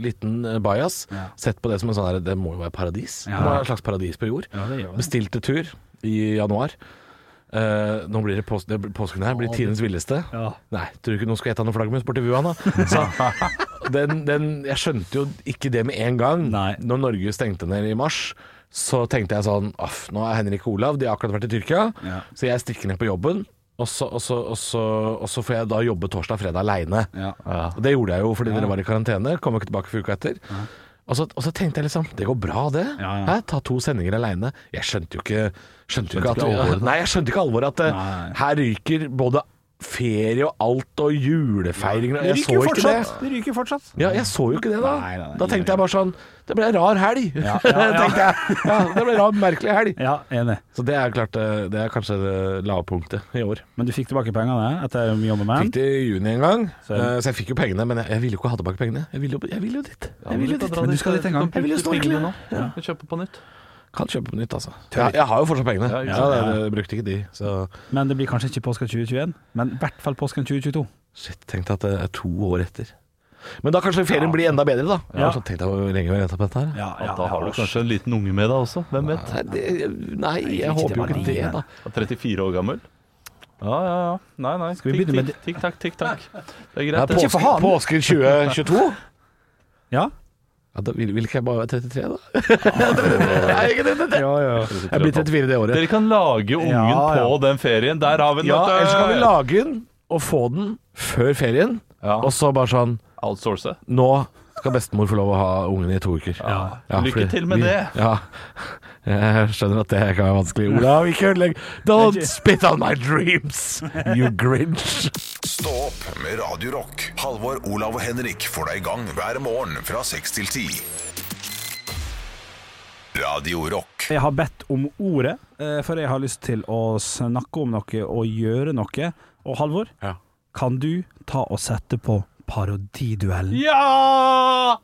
Speaker 5: liten eh, bajas,
Speaker 6: Ja.
Speaker 5: sett på det som en sånn her Det må jo være paradis.
Speaker 6: Ja.
Speaker 5: Det må være et slags paradis på jord.
Speaker 6: Ja, det gjør det.
Speaker 5: Bestilte tur i januar. Eh, nå blir det, pås det blir- påsken her blir tidenes villeste.
Speaker 6: Ja.
Speaker 5: Nei, tror du ikke noen skal ete noe flaggermus borti vua nå? Så den, den, jeg skjønte jo ikke det med en gang.
Speaker 6: Nei.
Speaker 5: Når Norge stengte ned i mars, så tenkte jeg sånn Aff, nå er Henrik og Olav, de har akkurat vært i Tyrkia.
Speaker 6: Ja.
Speaker 5: Så jeg stikker ned på jobben, og så, og så, og så, og så får jeg da jobbe torsdag og fredag aleine.
Speaker 6: Ja.
Speaker 5: Og det gjorde jeg jo fordi dere var i karantene. Kom jo ikke tilbake for uka etter. Og, så, og så tenkte jeg liksom Det går bra, det.
Speaker 6: Ja, ja.
Speaker 5: Hæ? Ta to sendinger aleine. Jeg skjønte jo ikke Skjønte jo ikke at
Speaker 7: ikke alvoret.
Speaker 5: Nei, jeg skjønte ikke alvoret. At eh,
Speaker 6: Nei.
Speaker 5: her ryker både ferie og alt, og julefeiringer og Jeg så ikke det.
Speaker 6: Det ryker fortsatt.
Speaker 5: Ja, jeg så jo ikke det da.
Speaker 6: Nei, nei, nei,
Speaker 5: da tenkte jeg bare sånn Det ble en rar helg,
Speaker 6: Ja, ja, ja.
Speaker 5: tenkte jeg. Ja, det ble en rar, merkelig helg.
Speaker 6: Ja, enig.
Speaker 5: Så det er klart eh, Det er kanskje det lavpunktet i år.
Speaker 6: Men du fikk tilbake pengene eh, etter Jobber Man?
Speaker 5: Fikk det i juni en gang,
Speaker 6: Så-
Speaker 5: så, så jeg fikk jo pengene. Men jeg, jeg ville jo ikke ha tilbake pengene. Jeg ville jo, jeg ville jo dit. Jeg ville jo dit.
Speaker 6: Men du skal dit en gang.
Speaker 5: Jeg vil jo stå ordentlig.
Speaker 7: Kjøpe på nytt.
Speaker 5: Kan kjøpe på nytt, altså. Jeg, jeg har jo fortsatt pengene.
Speaker 7: Ja,
Speaker 5: Ja,
Speaker 7: ikke
Speaker 6: sant.
Speaker 5: det, det brukte ikke de. Så
Speaker 6: Men det blir kanskje ikke påska 2021, men i hvert fall påsken 2022.
Speaker 5: shit, tenkte at det er to år etter. Men da kanskje ferien blir enda bedre, da.
Speaker 6: Ja.
Speaker 5: Ja. Så tenkte jeg hvor lenge vi har ventet på dette her.
Speaker 6: Ja,
Speaker 7: Ja, da har du kanskje en liten unge med deg også. Hvem vet?
Speaker 5: Nei, det, nei, jeg håper jo ikke det, da.
Speaker 7: 34 år gammel. Ja, ja, ja. Nei, nei.
Speaker 6: Skal vi begynne med det?
Speaker 7: Tikk, takk, tikk, takk. Det er
Speaker 5: Ja,
Speaker 7: greit.
Speaker 5: påske, påsken 2022?
Speaker 6: Ja.
Speaker 5: Ja, da vil, vil ikke jeg bare være 33, da? Nei, ikke 33.
Speaker 6: Ja, ja.
Speaker 5: Jeg blir 34 det året.
Speaker 7: Dere eh, kan lage ungen
Speaker 6: Ja, ja.
Speaker 7: på den ferien. Der har vi den.
Speaker 5: Ja,
Speaker 7: vet du.
Speaker 5: ellers kan vi lage den og få den før ferien,
Speaker 7: Ja.
Speaker 5: og så bare sånn
Speaker 7: Outsource.
Speaker 5: Nå skal bestemor få lov å ha ungen i to uker.
Speaker 7: Lykke
Speaker 5: fordi
Speaker 7: til med det.
Speaker 5: Ja. Jeg skjønner at det kan være vanskelig. Olav, ikke ødelegg. Don't spit on my dreams, you grinch.
Speaker 3: Stå opp med Radio Rock. Halvor, Olav og Henrik får deg i gang hver morgen fra 6 til 10. Radio Rock.
Speaker 6: Jeg har bedt om ordet, eh, for jeg har lyst til å snakke om noe og gjøre noe. Og Halvor,
Speaker 5: Ja.
Speaker 6: kan du ta og sette på parodiduellen?
Speaker 7: Ja!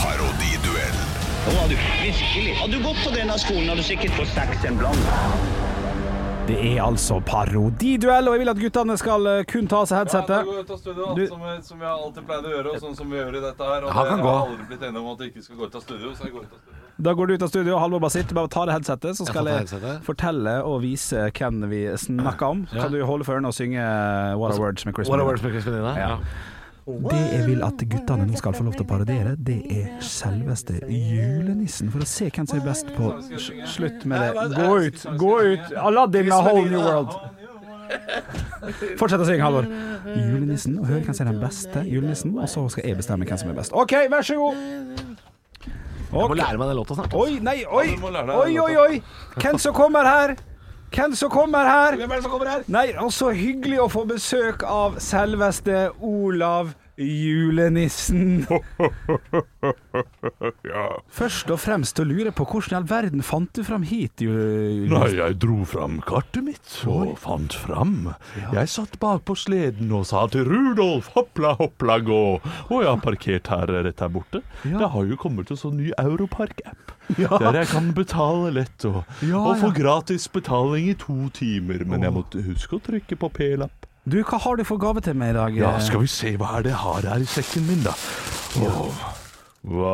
Speaker 3: Parodiduell.
Speaker 6: Det er altså parodiduell, og jeg vil at guttene skal eh, kun ta av seg headsetet.
Speaker 7: ut av studio,
Speaker 6: Du-
Speaker 7: som, jeg alltid pleide å gjøre, og sånn som vi gjør i dette her.
Speaker 5: Han det- kan jeg gå. har
Speaker 7: aldri blitt enig om at jeg ikke skal gå ut av studio, så jeg går ut av studio.
Speaker 6: Da går du ut av studio, Halvor bare sitter. Bare ta det headsetet, så skal
Speaker 5: tar
Speaker 6: jeg,
Speaker 5: på headsetet.
Speaker 6: fortelle og vise hvem vi snakker om. Så
Speaker 5: Ja. Altså,
Speaker 6: kan du holde for ørene og synge eh, What are words med Chris
Speaker 5: What a
Speaker 6: Miller.
Speaker 5: world for Crispin Dina. Ja.
Speaker 6: Det jeg vil at guttene nå skal få lov til å parodiere, det er selveste julenissen. For å se hvem som er best på s- Slutt med det. Gå ut! Gå ut! Aladdin a whole new world. Fortsett å synge, Halvor. Julenissen. Og hør hvem som er den beste julenissen, og så skal jeg bestemme hvem som er best. OK, vær så god.
Speaker 5: Jeg må lære meg den låta snart.
Speaker 6: Oi, nei, oi!
Speaker 7: du må lære deg
Speaker 6: Oi,
Speaker 7: den
Speaker 6: oi, oi! Hvem som kommer her? Hvem som kommer her? Hvem er det som kommer her? Nei, og så hyggelig å få besøk av selveste Olav julenissen. Først og fremst å lure på hvordan i all verden fant du fram hit, ju-
Speaker 7: Nei,
Speaker 6: julenissen?
Speaker 7: jeg dro fram kartet mitt og fant fram. Jeg satt bak på sleden og sa til Rudolf hoppla hoppla gå. Og jeg har parkert her rett her borte. Det har jo kommet en sånn ny Europark-app. Der jeg kan betale lett og, og få gratis betaling i to timer. Men jeg måtte huske å trykke på p-lapp.
Speaker 6: Du, hva har du for gave til meg i dag?
Speaker 7: Ja, skal vi se hva er det jeg har her i sekken min, da. Åh. Hva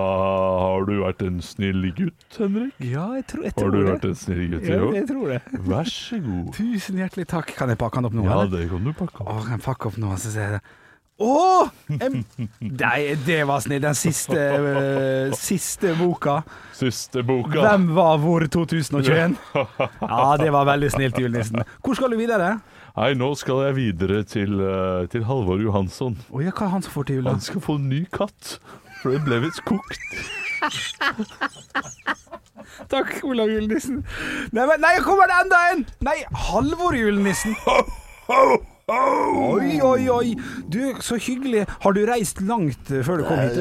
Speaker 7: Har du vært en snill gutt, Henrik?
Speaker 6: Ja, jeg tror, jeg
Speaker 7: Har
Speaker 6: tror
Speaker 7: du
Speaker 6: det.
Speaker 7: vært en snill gutt i
Speaker 6: Ja,
Speaker 7: år?
Speaker 6: jeg tror det.
Speaker 7: Vær så god.
Speaker 6: Tusen hjertelig takk. Kan jeg pakke den opp nå?
Speaker 7: Ja,
Speaker 6: eller?
Speaker 7: det kan du pakke
Speaker 6: Å,
Speaker 7: opp.
Speaker 6: kan jeg pakke opp nå, så sier jeg det. Åh! Em- Nei, det var snill. Den siste, eh, siste boka.
Speaker 7: Ah. Siste boka.
Speaker 6: Hvem var hvor 2021? Ja, det var veldig snilt, julenissen. Hvor skal du videre?
Speaker 7: Nei, nå skal jeg videre til, eh, til Halvor Johansson.
Speaker 6: Å ja, hva er han som får til jula?
Speaker 7: Han skal få en ny katt. For det ble visst kokt.
Speaker 6: Takk, Olav julenissen. Nei, men, nei, kommer det enda en! Nei, Halvor julenissen. Oi, oi, oi! Du, så hyggelig. Har du reist langt eh, før du kom hit?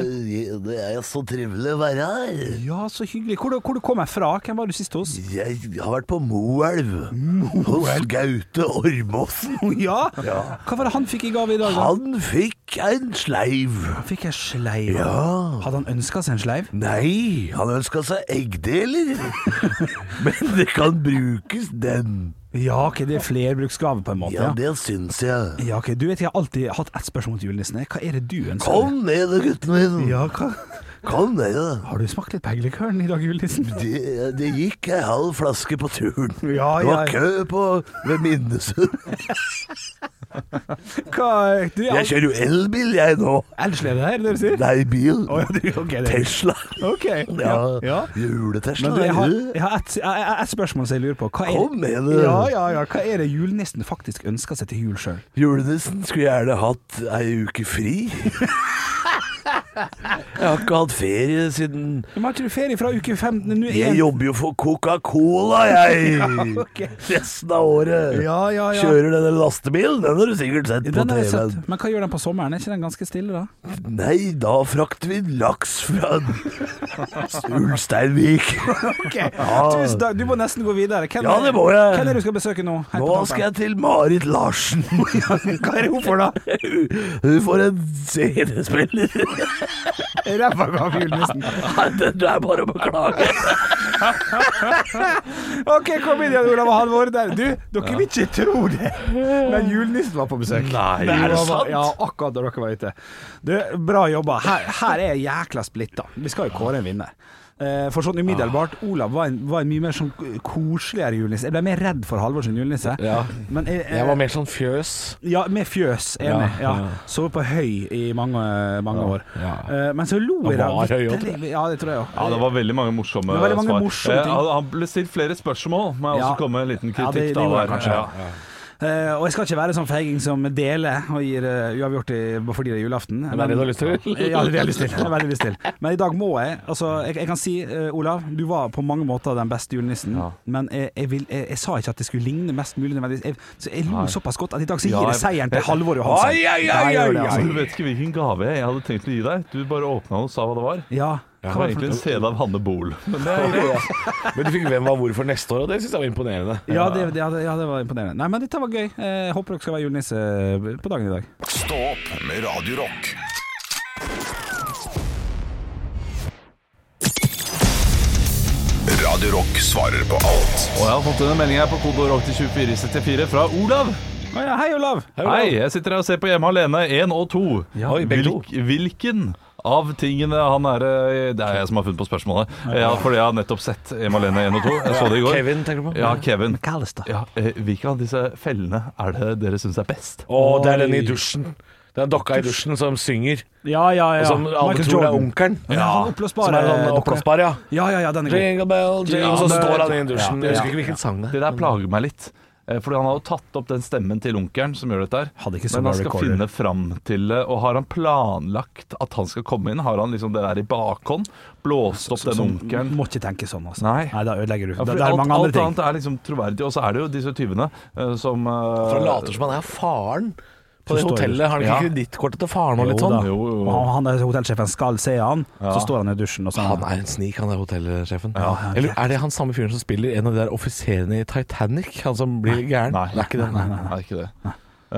Speaker 3: Det er jo så trivelig å være her.
Speaker 6: Ja, så hyggelig. Hvor, hvor du kom jeg fra? Hvem var du sist hos?
Speaker 3: Jeg har vært på Moelv. Hos Gaute Ormåsen.
Speaker 6: Å ja? Hva var det han fikk i gave i dag? da?
Speaker 3: Han fikk en sleiv.
Speaker 6: Han fikk en sleiv.
Speaker 3: Ja.
Speaker 6: Hadde han ønska seg en sleiv?
Speaker 3: Nei, han ønska seg eggdeler. Men det kan brukes, den.
Speaker 6: Ja, ok, det er flerbruksgave på en måte.
Speaker 3: Ja, det syns jeg.
Speaker 6: Ja, ok, du vet Jeg har alltid hatt ett spørsmål til julenissen. Hva er det du ønsker?
Speaker 3: Kom ned, da, gutten min.
Speaker 6: Ja, hva?
Speaker 3: Kom ned, da.
Speaker 6: Har du smakt litt peglikøren i dag, julenissen?
Speaker 3: Det, det gikk ei halv flaske på turen.
Speaker 6: Ja,
Speaker 3: det var
Speaker 6: ja.
Speaker 3: kø på ved Minnesund.
Speaker 6: Hva du,
Speaker 3: Jeg kjører jo elbil, jeg nå.
Speaker 6: Elslede her, dere sier?
Speaker 3: Nei, bil.
Speaker 6: Å, ja, du- ok, det er-
Speaker 3: Tesla.
Speaker 6: Ok.
Speaker 3: Ja.
Speaker 6: ja.
Speaker 3: Jule-Tesla.
Speaker 6: Men du, jeg har,
Speaker 3: du.
Speaker 6: jeg har ett jeg- jeg- et spørsmål som jeg lurer på. Hva er,
Speaker 3: Kom med det.
Speaker 6: Ja, ja, ja. Hva er det julenissen faktisk ønsker seg til jul sjøl?
Speaker 3: Julenissen skulle gjerne hatt ei uke fri. Jeg har ikke hatt ferie siden
Speaker 6: Men har ikke du ferie fra uke 15? Nå er
Speaker 3: Jeg
Speaker 6: en-
Speaker 3: jobber jo for Coca-Cola, jeg!
Speaker 6: ok.
Speaker 3: Resten av året.
Speaker 6: Ja, ja, ja.
Speaker 3: Kjører denne lastebilen, den har du sikkert sett på
Speaker 6: Den har jeg
Speaker 3: TV-en.
Speaker 6: sett. Men hva gjør den på sommeren? Er ikke den ganske stille da?
Speaker 3: Nei, da frakter vi laks fra Ulsteinvik.
Speaker 6: Ok,
Speaker 3: Ja.
Speaker 6: tusen takk. Du må nesten gå videre. Hvem
Speaker 3: Ja,
Speaker 6: er-
Speaker 3: det må jeg.
Speaker 6: Hvem er det du skal besøke nå? Helt
Speaker 3: Nå
Speaker 6: på
Speaker 3: skal
Speaker 6: tampen.
Speaker 3: jeg til Marit Larsen. Hva er hun for, da? Hun får en seriespiller.
Speaker 6: Ræva gav julenissen.
Speaker 3: Nei, Den er bare å beklage.
Speaker 6: Ok, kom inn igjen, Olav og Halvor. Der. Du, dere vil ikke tro det, men julenissen var på besøk.
Speaker 7: Nei,
Speaker 6: Det
Speaker 7: er det
Speaker 6: var-
Speaker 7: sant?
Speaker 6: Ja, akkurat da dere var ute. Du, bra jobba. Her, her er jeg jækla splitta. Vi skal jo kåre en vinner. Eh, For sånn umiddelbart, Olav var en, var en mye mer sånn koseligere julenisse. Jeg ble mer redd for Halvor sin julenisse.
Speaker 10: Ja.
Speaker 6: Men jeg,
Speaker 5: Jeg var mer sånn fjøs.
Speaker 6: ja, med fjøs, enig.
Speaker 10: Ja,
Speaker 6: Ja,
Speaker 10: ja.
Speaker 6: Sov på høy i mange, mange år.
Speaker 10: ja.
Speaker 6: Eh, Men så lo jeg da.
Speaker 10: var høy også,
Speaker 6: vitterlig. Ja, det tror jeg òg.
Speaker 7: Ja, det var veldig mange morsomme
Speaker 6: Det var veldig mange
Speaker 7: svar.
Speaker 6: morsomme ting.
Speaker 7: Eh, han ble stilt flere spørsmål. Må jeg
Speaker 6: Ja.
Speaker 7: også komme med en liten
Speaker 6: Ja, det-
Speaker 7: kritikk
Speaker 6: det
Speaker 7: da,
Speaker 6: gjorde
Speaker 7: der.
Speaker 6: jeg kanskje. Eh, og jeg skal ikke være sånn feiging som deler og gir eh, uavgjort i, bare fordi det er julaften.
Speaker 5: er det du har lyst til?
Speaker 6: ja, det er det jeg har lyst til. Det er veldig lyst til. Men i dag må jeg. Altså, jeg, jeg kan si, eh, Olav, du var på mange måter den beste julenissen, men jeg, jeg, vil, jeg, jeg sa ikke at det skulle ligne mest mulig nødvendigvis. Jeg, så jeg lo såpass godt at i dag så
Speaker 7: Ja,
Speaker 6: gir jeg
Speaker 7: jeg-
Speaker 6: seieren til Halvor Johansen.
Speaker 7: Ai, ai,
Speaker 6: Ja,
Speaker 7: ai,
Speaker 6: jeg
Speaker 7: ai,
Speaker 6: gjør det,
Speaker 7: ai.
Speaker 6: altså.
Speaker 7: Du vet ikke hvilken gave jeg hadde tenkt å gi deg. Du bare åpna den og sa hva det var.
Speaker 6: Ja.
Speaker 7: Det var egentlig en CD av Hanne Bol. Men det er
Speaker 5: Men du fikk Hvem var hvor for neste år, og det syns jeg var imponerende.
Speaker 6: Ja det, ja, det, ja, det var imponerende. Nei, men dette var gøy. Eh, Jeg håper dere skal være julenisse eh, på dagen i dag.
Speaker 11: Stå opp med Radio Rock. Radio Rock svarer på alt
Speaker 7: Og jeg har fått inn en melding her på kode rock til 2464 fra Olav.
Speaker 6: Å ja, hei, Olav!
Speaker 7: Hei, jeg sitter her og ser på Hjemme alene 1 og 2.
Speaker 10: Oi, begge to.
Speaker 7: hvilken av tingene han er eh, Det er jeg som har funnet på spørsmålet. Ja, fordi jeg har nettopp sett Hjemme alene 1 og 2. Jeg så det i går.
Speaker 10: Kevin, tenker du på?
Speaker 7: Ja, Kevin.
Speaker 6: Kalestad.
Speaker 7: Ja, eh, hvilke av disse fellene er det dere syns er best?
Speaker 5: Å, det er den i dusjen. Det er dokka i dusjen som synger,
Speaker 6: Ja, ja, ja.
Speaker 5: og som alle tror er onkelen.
Speaker 6: Ja, han
Speaker 5: Som
Speaker 6: oppblåsbare
Speaker 5: er sånn
Speaker 6: dokker.
Speaker 5: oppblåsbar, ja.
Speaker 6: Ja, ja, ja, den er god.
Speaker 5: Jingle bell, jingle, så
Speaker 7: det-
Speaker 5: står han i dusjen. Jeg
Speaker 6: Ja.
Speaker 5: husker ikke hvilken sang det er.
Speaker 7: Det der plager meg litt. eh, Fordi han har jo tatt opp den stemmen til onkelen som gjør dette her.
Speaker 6: Hadde ikke
Speaker 7: Men han skal
Speaker 6: Sonar-recorder.
Speaker 7: finne fram til det. Og har han planlagt at han skal komme inn? Har han liksom det der i bakhånd? Blåst opp den onkelen?
Speaker 6: Må ikke tenke sånn, altså.
Speaker 7: Nei.
Speaker 6: da ødelegger du.
Speaker 7: Ja,
Speaker 6: det,
Speaker 7: for
Speaker 6: det er
Speaker 7: alt,
Speaker 6: mange
Speaker 7: alt
Speaker 6: andre ting.
Speaker 7: annet er liksom troverdig. Og så er det jo disse tyvene eh, som eh,
Speaker 5: For han later som han er faren på det
Speaker 6: Forstår du.
Speaker 5: hotellet. Har han ikke
Speaker 7: Ja.
Speaker 5: kredittkortet til faren og litt
Speaker 6: Jo da.
Speaker 5: sånn?
Speaker 7: Jo, jo, jo.
Speaker 6: Og Han, han der hotellsjefen skal se han, så står han i dusjen og sånn.
Speaker 5: Han er en snik, han der hotellsjefen.
Speaker 6: ja.
Speaker 5: Eller er det han samme fyren som spiller en av de der offiserene i Titanic? Han som blir gæren?
Speaker 7: Nei.
Speaker 5: det er ikke det. Nei,
Speaker 7: Nei, det er ikke det.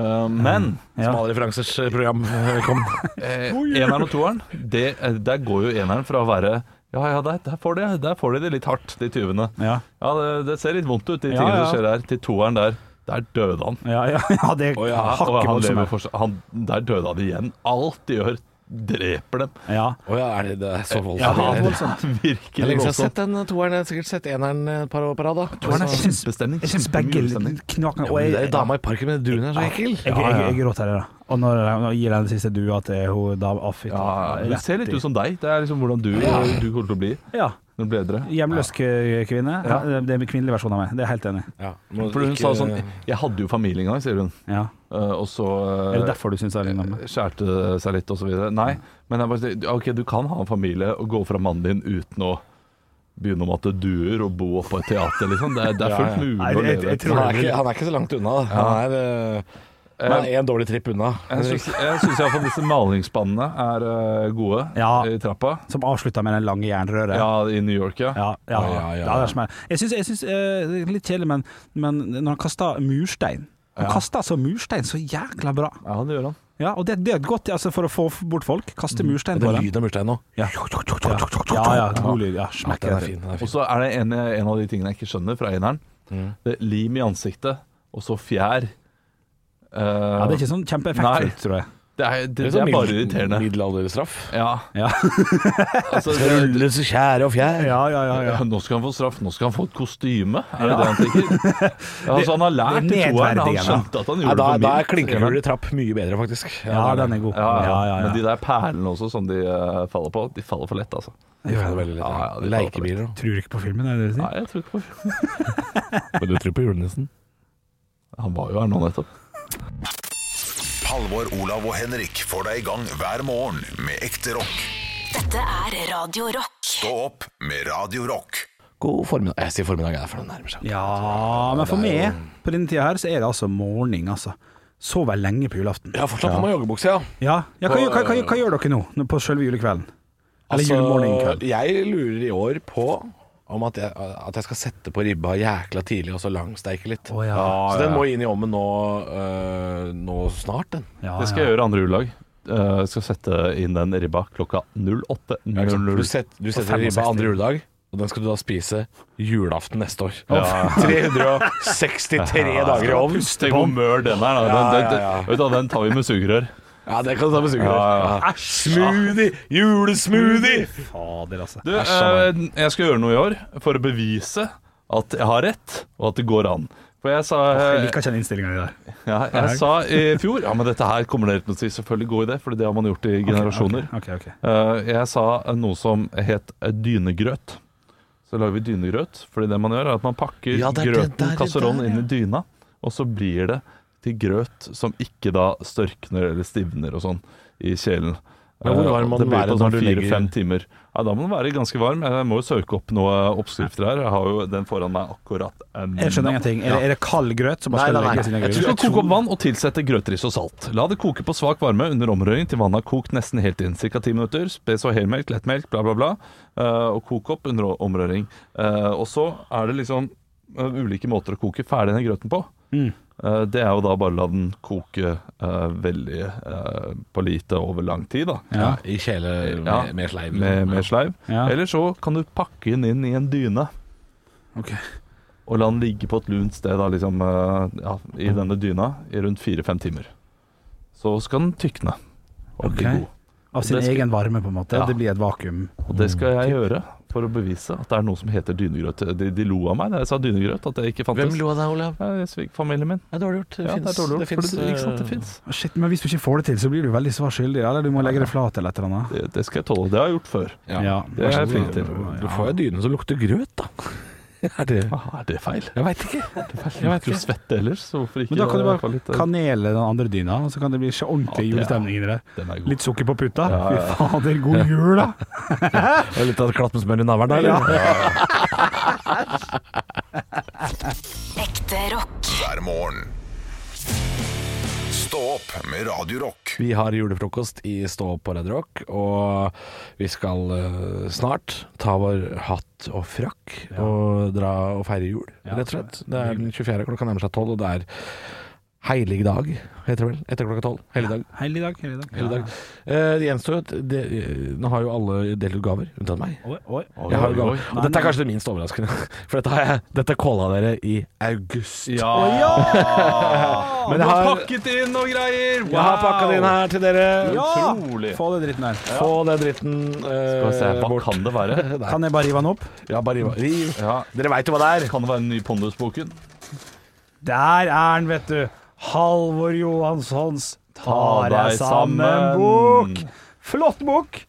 Speaker 7: Eh, men
Speaker 6: Ja.
Speaker 5: Smale referansers eh, program eh, kom.
Speaker 7: eh, eneren og toeren, det, eh, der går jo eneren fra å være ja, ja, der, der, får de, der får de det litt hardt, de tyvene.
Speaker 6: Ja,
Speaker 7: Ja, det, det ser litt vondt ut, de
Speaker 6: Ja,
Speaker 7: tingene
Speaker 6: ja.
Speaker 7: som skjer der. Til toeren der, der døde han.
Speaker 6: ja, ja, ja det er
Speaker 7: Ja, og
Speaker 6: hakket
Speaker 7: han lever
Speaker 6: voldsomt.
Speaker 7: fortsatt. Han, der døde han igjen. Alt de gjør, dreper dem.
Speaker 6: Ja.
Speaker 5: Å ja, er det, det er så voldsomt.
Speaker 6: Ja, det er
Speaker 5: det, er,
Speaker 6: voldsomt.
Speaker 5: det er
Speaker 7: Virkelig
Speaker 5: lenge siden jeg har
Speaker 7: voldsomt.
Speaker 5: sett den toeren. Jeg har sikkert sett eneren et par år på rad. da.
Speaker 7: Toeren er
Speaker 5: Så-
Speaker 7: kjempestemning.
Speaker 6: Jeg syns begge
Speaker 7: kjempemye
Speaker 6: knakene
Speaker 5: Jo,
Speaker 6: og
Speaker 5: men Det er
Speaker 6: jeg,
Speaker 5: jo dama i parken med duen her, så ekkel.
Speaker 6: jeg, jeg, jeg, jeg gråter her, da. Og når når jeg gir den siste dua til hun da Å, fy
Speaker 7: Ja,
Speaker 6: faen.
Speaker 7: det ser litt ut som deg. Det er liksom hvordan du, du kommer til å bli
Speaker 6: Ja.
Speaker 7: når du blir eldre.
Speaker 6: Hjemløs k- kvinne. Ja, det er en kvinnelig versjon av meg. Det er jeg helt enig i.
Speaker 5: Ja, må
Speaker 7: For hun
Speaker 5: ikke-
Speaker 7: sa sånn Jeg hadde jo familie en gang, sier hun.
Speaker 6: Ja. Eh,
Speaker 7: Eh, Og så eh,
Speaker 6: Er det derfor du syns jeg ligner meg?
Speaker 7: skjærte det seg litt og så videre. Nei, men jeg bare sier OK, du kan ha en familie og gå fra mannen din uten å begynne å matte duer og bo på et teater, liksom. Det er, det er
Speaker 5: Ja,
Speaker 7: fullt
Speaker 5: ja.
Speaker 7: mulig
Speaker 6: Nei,
Speaker 7: å
Speaker 6: jeg-
Speaker 7: leve
Speaker 6: jeg
Speaker 7: et
Speaker 6: tror-
Speaker 5: han, er ikke, han er ikke så langt unna. da. Han er eh, Man er en dårlig tripp unna.
Speaker 7: Jeg syns iallfall disse malingsspannene er eh, gode
Speaker 6: Ja.
Speaker 7: i trappa.
Speaker 6: Som avslutta med den lange jernrøret.
Speaker 7: Ja, i New York, ja.
Speaker 6: Ja,
Speaker 12: Ja,
Speaker 6: ja,
Speaker 12: ja, ja.
Speaker 6: det er som er. Jeg syns, jeg synes, eh, det er litt kjedelig, men, men når han kaster murstein Han kaster altså murstein så jækla bra.
Speaker 7: Ja, det gjør han.
Speaker 6: Ja, og det, det er et godt altså, for å få f- bort folk. Kaste murstein
Speaker 5: Det
Speaker 6: på
Speaker 5: var
Speaker 6: dem.
Speaker 5: lyden av mursteinen nå.
Speaker 6: Ja, ja, ja, ja, god lyd. Ja, smekk.
Speaker 5: Den er fin. Den er
Speaker 7: Og
Speaker 5: fin.
Speaker 7: så er det en, en av de tingene jeg ikke skjønner fra eneren.
Speaker 6: Mm.
Speaker 7: Det er lim i ansiktet, og så fjær. Eh,
Speaker 6: Ja, det er
Speaker 7: det,
Speaker 6: ikke sånn
Speaker 7: Nei.
Speaker 6: kjempeeffektfullt, tror jeg.
Speaker 7: er,
Speaker 5: Det
Speaker 7: det, det
Speaker 5: sånn
Speaker 7: er bare
Speaker 5: middel-
Speaker 7: irriterende.
Speaker 5: Middelalderstraff.
Speaker 7: Ja.
Speaker 6: Ja.
Speaker 7: altså, det,
Speaker 5: Rulles skjære og fjær.
Speaker 6: Ja, ja, ja, ja.
Speaker 7: Nå skal han få straff, nå skal han få et kostyme. Er det det han tenker? Ja, altså, han har lært i
Speaker 6: det er
Speaker 7: toeren, han
Speaker 6: nedverdigende.
Speaker 7: skjønte at han
Speaker 5: Nei,
Speaker 7: gjorde
Speaker 5: da,
Speaker 7: det for
Speaker 5: da er
Speaker 7: mildt.
Speaker 5: klinkehul i trapp mye bedre, faktisk.
Speaker 6: Ja, den er god.
Speaker 7: Ja, ja, ja, Men
Speaker 6: ja,
Speaker 7: de
Speaker 6: ja.
Speaker 7: der perlene også, som de eh, faller på, de faller for lett, altså.
Speaker 5: de faller veldig lett.
Speaker 7: Ja, ja, de faller
Speaker 5: Leikebiler og
Speaker 6: Tror du ikke på filmen, er det det du
Speaker 7: Nei,
Speaker 6: sier?
Speaker 7: jeg tror ikke på
Speaker 5: Men du tror på julenissen?
Speaker 7: Han var jo her nå nettopp.
Speaker 3: Halvor, Olav og Henrik får deg i gang hver morgen med ekte rock.
Speaker 2: Dette er Radio Rock.
Speaker 3: Stå opp med Radio Rock.
Speaker 5: God formiddag. Jeg sier formiddag, jeg, for den nærmer seg.
Speaker 6: Ja, men for meg, på denne tida her, så er det altså morgen, altså. Sover lenge på julaften.
Speaker 5: Ja, fortsatt på meg joggebukse, ja.
Speaker 6: Ja, ja hva, hva, hva, hva gjør dere nå, nå på selve julekvelden? Eller
Speaker 5: Altså,
Speaker 6: julemorgenen i kveld?
Speaker 5: Jeg lurer i år på om at jeg, at jeg skal sette på ribba jækla tidlig og så langsteike litt.
Speaker 6: Å, ja.
Speaker 5: Så den må inn i ovnen nå, øh, nå snart, den.
Speaker 6: Ja,
Speaker 7: Det skal jeg gjøre andre juledag. Eh, Jeg skal sette inn den ribba klokka 08.00.
Speaker 5: Liksom. Du, set, du setter ribba
Speaker 6: 65.
Speaker 5: andre juledag, og den skal du da spise julaften neste år. 363 dager i ovnen.
Speaker 7: Tenk hvor mør den er. Da. Den, den, den,
Speaker 5: ja, ja.
Speaker 7: Vet du, den tar vi med sugerør.
Speaker 5: Ja, det kan du ta med sugerør.
Speaker 7: Ja,
Speaker 5: Ja. Smoothie! Julesmoothie!
Speaker 6: Fader, altså.
Speaker 7: Du, eh, jeg skal gjøre noe i år for å bevise at jeg har rett, og at det går an. For jeg sa, eh,
Speaker 6: Jeg liker ikke den innstillinga di der.
Speaker 7: ja, jeg sa i fjor Ja, men dette her kommer dere til å si. Selvfølgelig god idé, for det har man gjort i generasjoner.
Speaker 6: Ok, ok.
Speaker 7: Eh, Jeg sa noe som het dynegrøt. Så lager vi dynegrøt, fordi det man gjør er at man pakker
Speaker 5: Ja, det er det der,
Speaker 7: grøten,
Speaker 5: det
Speaker 7: kasserollen,
Speaker 5: der,
Speaker 7: inn i dyna, og så blir det til grøt som ikke da størkner eller stivner og sånn i kjelen.
Speaker 5: Ja, hvor
Speaker 7: Eh,
Speaker 5: varm må
Speaker 7: det
Speaker 5: den
Speaker 7: blir
Speaker 5: være
Speaker 7: på
Speaker 5: når
Speaker 7: sånn
Speaker 5: du legger-
Speaker 7: fire-fem timer. Ja, da må den være ganske varm. Jeg må jo søke opp noen oppskrifter her. Jeg har jo den foran meg akkurat nå.
Speaker 6: Jeg skjønner ingenting. Er, det- er det kald grøt som bare skal legges inn i
Speaker 7: Du skal
Speaker 6: grøten?
Speaker 7: koke opp vann og tilsette grøtris og salt. La det koke på svak varme under omrøring til vannet har kokt nesten helt inn. Ca. 10 minutter. Spe så helmelk, lettmelk, bla, bla, bla. eh, og kok opp under omrøring. Eh, og så er det liksom eh, ulike måter å koke ferdig den grøten på. Eh, det er jo da bare la den koke eh, veldig eh, på lite over lang tid, da.
Speaker 5: Ja, I kjele
Speaker 7: Ja,
Speaker 5: med, med sleiv.
Speaker 7: Med, med sleiv.
Speaker 6: Ja.
Speaker 7: Eller så kan du pakke den inn i en dyne.
Speaker 6: Ok.
Speaker 7: Og la den ligge på et lunt sted da, liksom, eh, ja, i
Speaker 6: Mm.
Speaker 7: denne dyna i rundt fire-fem timer. Så skal den tykne og bli
Speaker 6: Ok.
Speaker 7: god.
Speaker 6: Av sin
Speaker 7: Det skal-
Speaker 6: egen varme, på en måte.
Speaker 7: Ja.
Speaker 6: Det blir et vakuum.
Speaker 7: Og det skal
Speaker 6: Mm.
Speaker 7: jeg gjøre for å bevise at det er noe som heter dynegrøt. De, de lo av meg da jeg sa dynegrøt, at det ikke fantes.
Speaker 5: Hvem lo av deg, Olav?
Speaker 7: Ja, Svigerfamilien min.
Speaker 5: Det er dårlig gjort. Det
Speaker 7: Ja, det er
Speaker 5: finnes-
Speaker 7: dårlig gjort, for
Speaker 5: finnes,
Speaker 7: det, ikke sant, det
Speaker 5: øh,
Speaker 6: eh,
Speaker 7: fins.
Speaker 6: Shit, men hvis du ikke får det til, så blir du veldig svar skyldig. Eller du må legge det flat eller et eller annet.
Speaker 7: Det, det skal jeg tåle. Det har jeg gjort før.
Speaker 6: Ja.
Speaker 7: Det er jeg flink til.
Speaker 5: Du får jo dyne som lukter grøt, da. Er det
Speaker 7: Ah, er det feil?
Speaker 5: Jeg veit ikke.
Speaker 7: Jeg vet ikke. Svette ellers, så hvorfor ikke?
Speaker 6: Men da kan du
Speaker 7: få
Speaker 6: bare
Speaker 7: litt, eh,
Speaker 6: kanele den andre dyna, og så kan det bli så ordentlig
Speaker 7: Ja, det er-
Speaker 6: julestemning i det.
Speaker 7: den er god.
Speaker 6: Litt sukker på puta. Fy fader, god jul, da!
Speaker 5: Og litt av et klatt med smør i navlen, da? Eller?
Speaker 2: Ekte rock.
Speaker 3: hver morgen. Stå opp med Radio Rock.
Speaker 5: Vi har julefrokost i Stå opp på Red Rock, og vi skal eh, snart ta vår hatt og frakk og dra og feire jul, rett og slett. Det er den 24. klokka nærmer seg tolv, og det er heilig dag, heter det vel. Etter klokka tolv. Hellig dag.
Speaker 6: Helligdag, helligdag.
Speaker 5: Hele dag. Eh, det gjenstår jo at det, eh, Nå har jo alle delt ut gaver, unntatt meg.
Speaker 6: Oi, oi.
Speaker 5: Jeg har jo
Speaker 7: Oi, oi.
Speaker 5: gaver. Og dette er kanskje det minst overraskende, for dette, har jeg, dette calla dere i august. Men jeg har,
Speaker 7: pakket inn og greier!
Speaker 5: jeg har pakka det inn her til dere.
Speaker 6: Ja!
Speaker 7: Utrolig.
Speaker 6: Få den dritten her.
Speaker 5: Få den dritten eh,
Speaker 7: Skal vi se, hva
Speaker 5: bort.
Speaker 7: kan det være?
Speaker 6: Kan jeg bare rive den opp?
Speaker 5: Ja, bare riv. riv.
Speaker 7: Ja.
Speaker 5: Dere veit jo hva det er.
Speaker 7: Kan det være den nye Pondusboken?
Speaker 6: Der er den, vet du. Halvor Johanssons Tar deg sammen-bok. Flott bok.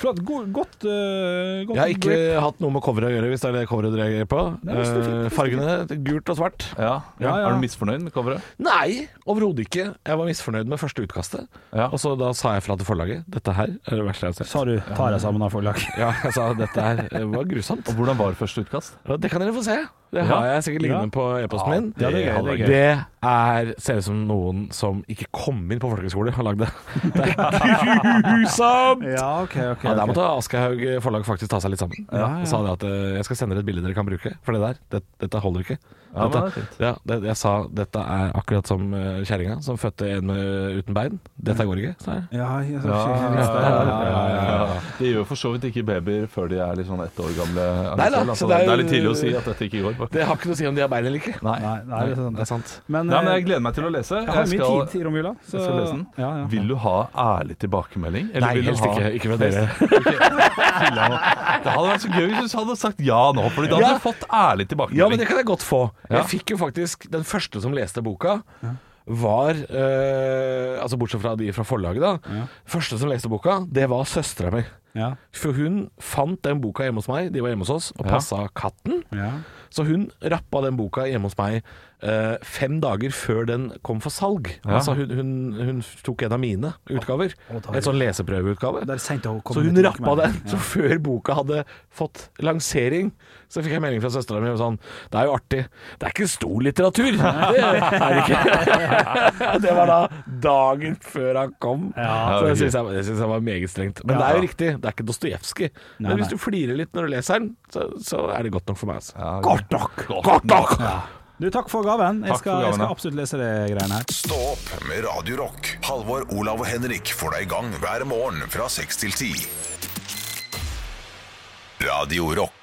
Speaker 6: Flott, go godt, øh, godt
Speaker 5: Jeg har ikke hatt noe med coveret å gjøre, hvis det er det coveret dere reagerer på. Eh, fargene gult og svart.
Speaker 7: Ja.
Speaker 6: Ja, ja.
Speaker 7: Er du misfornøyd med coveret?
Speaker 5: Nei, overhodet ikke. Jeg var misfornøyd med første utkastet.
Speaker 7: Ja.
Speaker 5: Og så da sa jeg fra til forlaget. Dette her er det verste jeg har sett.
Speaker 6: Sa du 'tar deg sammen' av forlag?
Speaker 5: Ja, jeg sa dette her eh, var grusomt.
Speaker 7: Og hvordan var første utkast?
Speaker 5: Ja, Det kan dere få se. Det har jeg sikkert liggende
Speaker 6: Ja.
Speaker 5: på e-posten min.
Speaker 6: Ja, det er gøy, det er gøy.
Speaker 5: er- ser ut som noen som ikke kom inn på folkehøyskole, har lagd det. Det er grusomt!
Speaker 6: Ja, ok, ok.
Speaker 5: Ja, der
Speaker 6: ok.
Speaker 5: måtte Aschehoug forlag faktisk ta seg litt sammen.
Speaker 6: Ja, ja.
Speaker 5: Og sa det at eh, jeg skal sende dere et bilde dere kan bruke, for det der, det, dette holder ikke.
Speaker 7: Ja, men
Speaker 5: Dette,
Speaker 7: det er fint.
Speaker 5: ja, det, jeg sa dette er akkurat som eh, kjerringa som fødte en eh, uten bein. Dette går ikke, sa jeg.
Speaker 6: Ja, jeg,
Speaker 7: Ja, ja,
Speaker 6: ja, ja, Ah. ja.
Speaker 7: ja, ja. De gjør jo for så vidt ikke babyer før de er litt sånn ett år gamle.
Speaker 5: Nei da,
Speaker 7: altså,
Speaker 5: så
Speaker 7: det,
Speaker 5: det er
Speaker 7: er
Speaker 5: jo-
Speaker 7: litt tidlig å si at dette ikke går. faktisk.
Speaker 5: Det har ikke noe å si om de har bein eller ikke.
Speaker 7: Nei.
Speaker 6: Nei, nei, det er sant.
Speaker 5: Det er sant.
Speaker 6: Men,
Speaker 7: Nei, men
Speaker 6: eh,
Speaker 7: jeg gleder meg til å lese.
Speaker 6: jeg har mye
Speaker 7: skal-
Speaker 6: tid i romjula. så-
Speaker 7: jeg skal lese den.
Speaker 6: Ja, ja.
Speaker 7: Vil du ha ærlig tilbakemelding? eller
Speaker 5: Nei,
Speaker 7: vil du
Speaker 5: helst
Speaker 7: ha-
Speaker 5: ikke. Ikke med dere.
Speaker 7: Det hadde vært så gøy hvis du hadde sagt ja nå, for da hadde
Speaker 5: Ja.
Speaker 7: du fått ærlig tilbakemelding.
Speaker 5: Ja, men det kan jeg godt få.
Speaker 7: Ja.
Speaker 5: Jeg fikk jo faktisk Den første som leste boka, var eh, Altså bortsett fra de fra forlaget, da. Første som leste boka, det var søstera mi.
Speaker 6: Ja,
Speaker 5: For hun fant den boka hjemme hos meg, de var hjemme hos oss, og
Speaker 7: Ja.
Speaker 5: passa katten.
Speaker 6: ja.
Speaker 5: Så hun rappa den boka hjemme hos meg eh, fem dager før den kom for salg.
Speaker 7: Ja.
Speaker 5: Altså hun, hun, hun tok en av mine utgaver.
Speaker 6: Å, da er
Speaker 5: Et sånn leseprøveutgave.
Speaker 6: Det er sent å komme
Speaker 5: Så hun
Speaker 6: med
Speaker 5: rappa den.
Speaker 6: tilbakemelding.
Speaker 5: Så før boka hadde fått lansering, så fikk jeg melding fra søstera mi sånn Det er jo artig. Det er ikke stor litteratur. Det er det ikke. Det var da dagen før han kom.
Speaker 7: Ja,
Speaker 5: så det
Speaker 7: ok.
Speaker 5: syns jeg, det synes jeg var meget strengt. Men det er jo riktig. Det er ikke Dostojevskij.
Speaker 6: Nei,
Speaker 5: Men hvis
Speaker 6: nei.
Speaker 5: du flirer litt når du leser den, så, så er det godt nok for meg. Altså.
Speaker 7: Ja,
Speaker 5: Godt nok! Godt nok!
Speaker 6: Du, takk for gaven. Jeg
Speaker 7: Takk
Speaker 6: skal,
Speaker 7: for
Speaker 6: jeg
Speaker 7: gaven,
Speaker 6: skal
Speaker 7: ja.
Speaker 6: absolutt lese det greiene her.
Speaker 3: Stå opp med Radio Rock. Halvor, Olav og Henrik får deg i gang hver morgen fra 6 til 10. Radio Rock.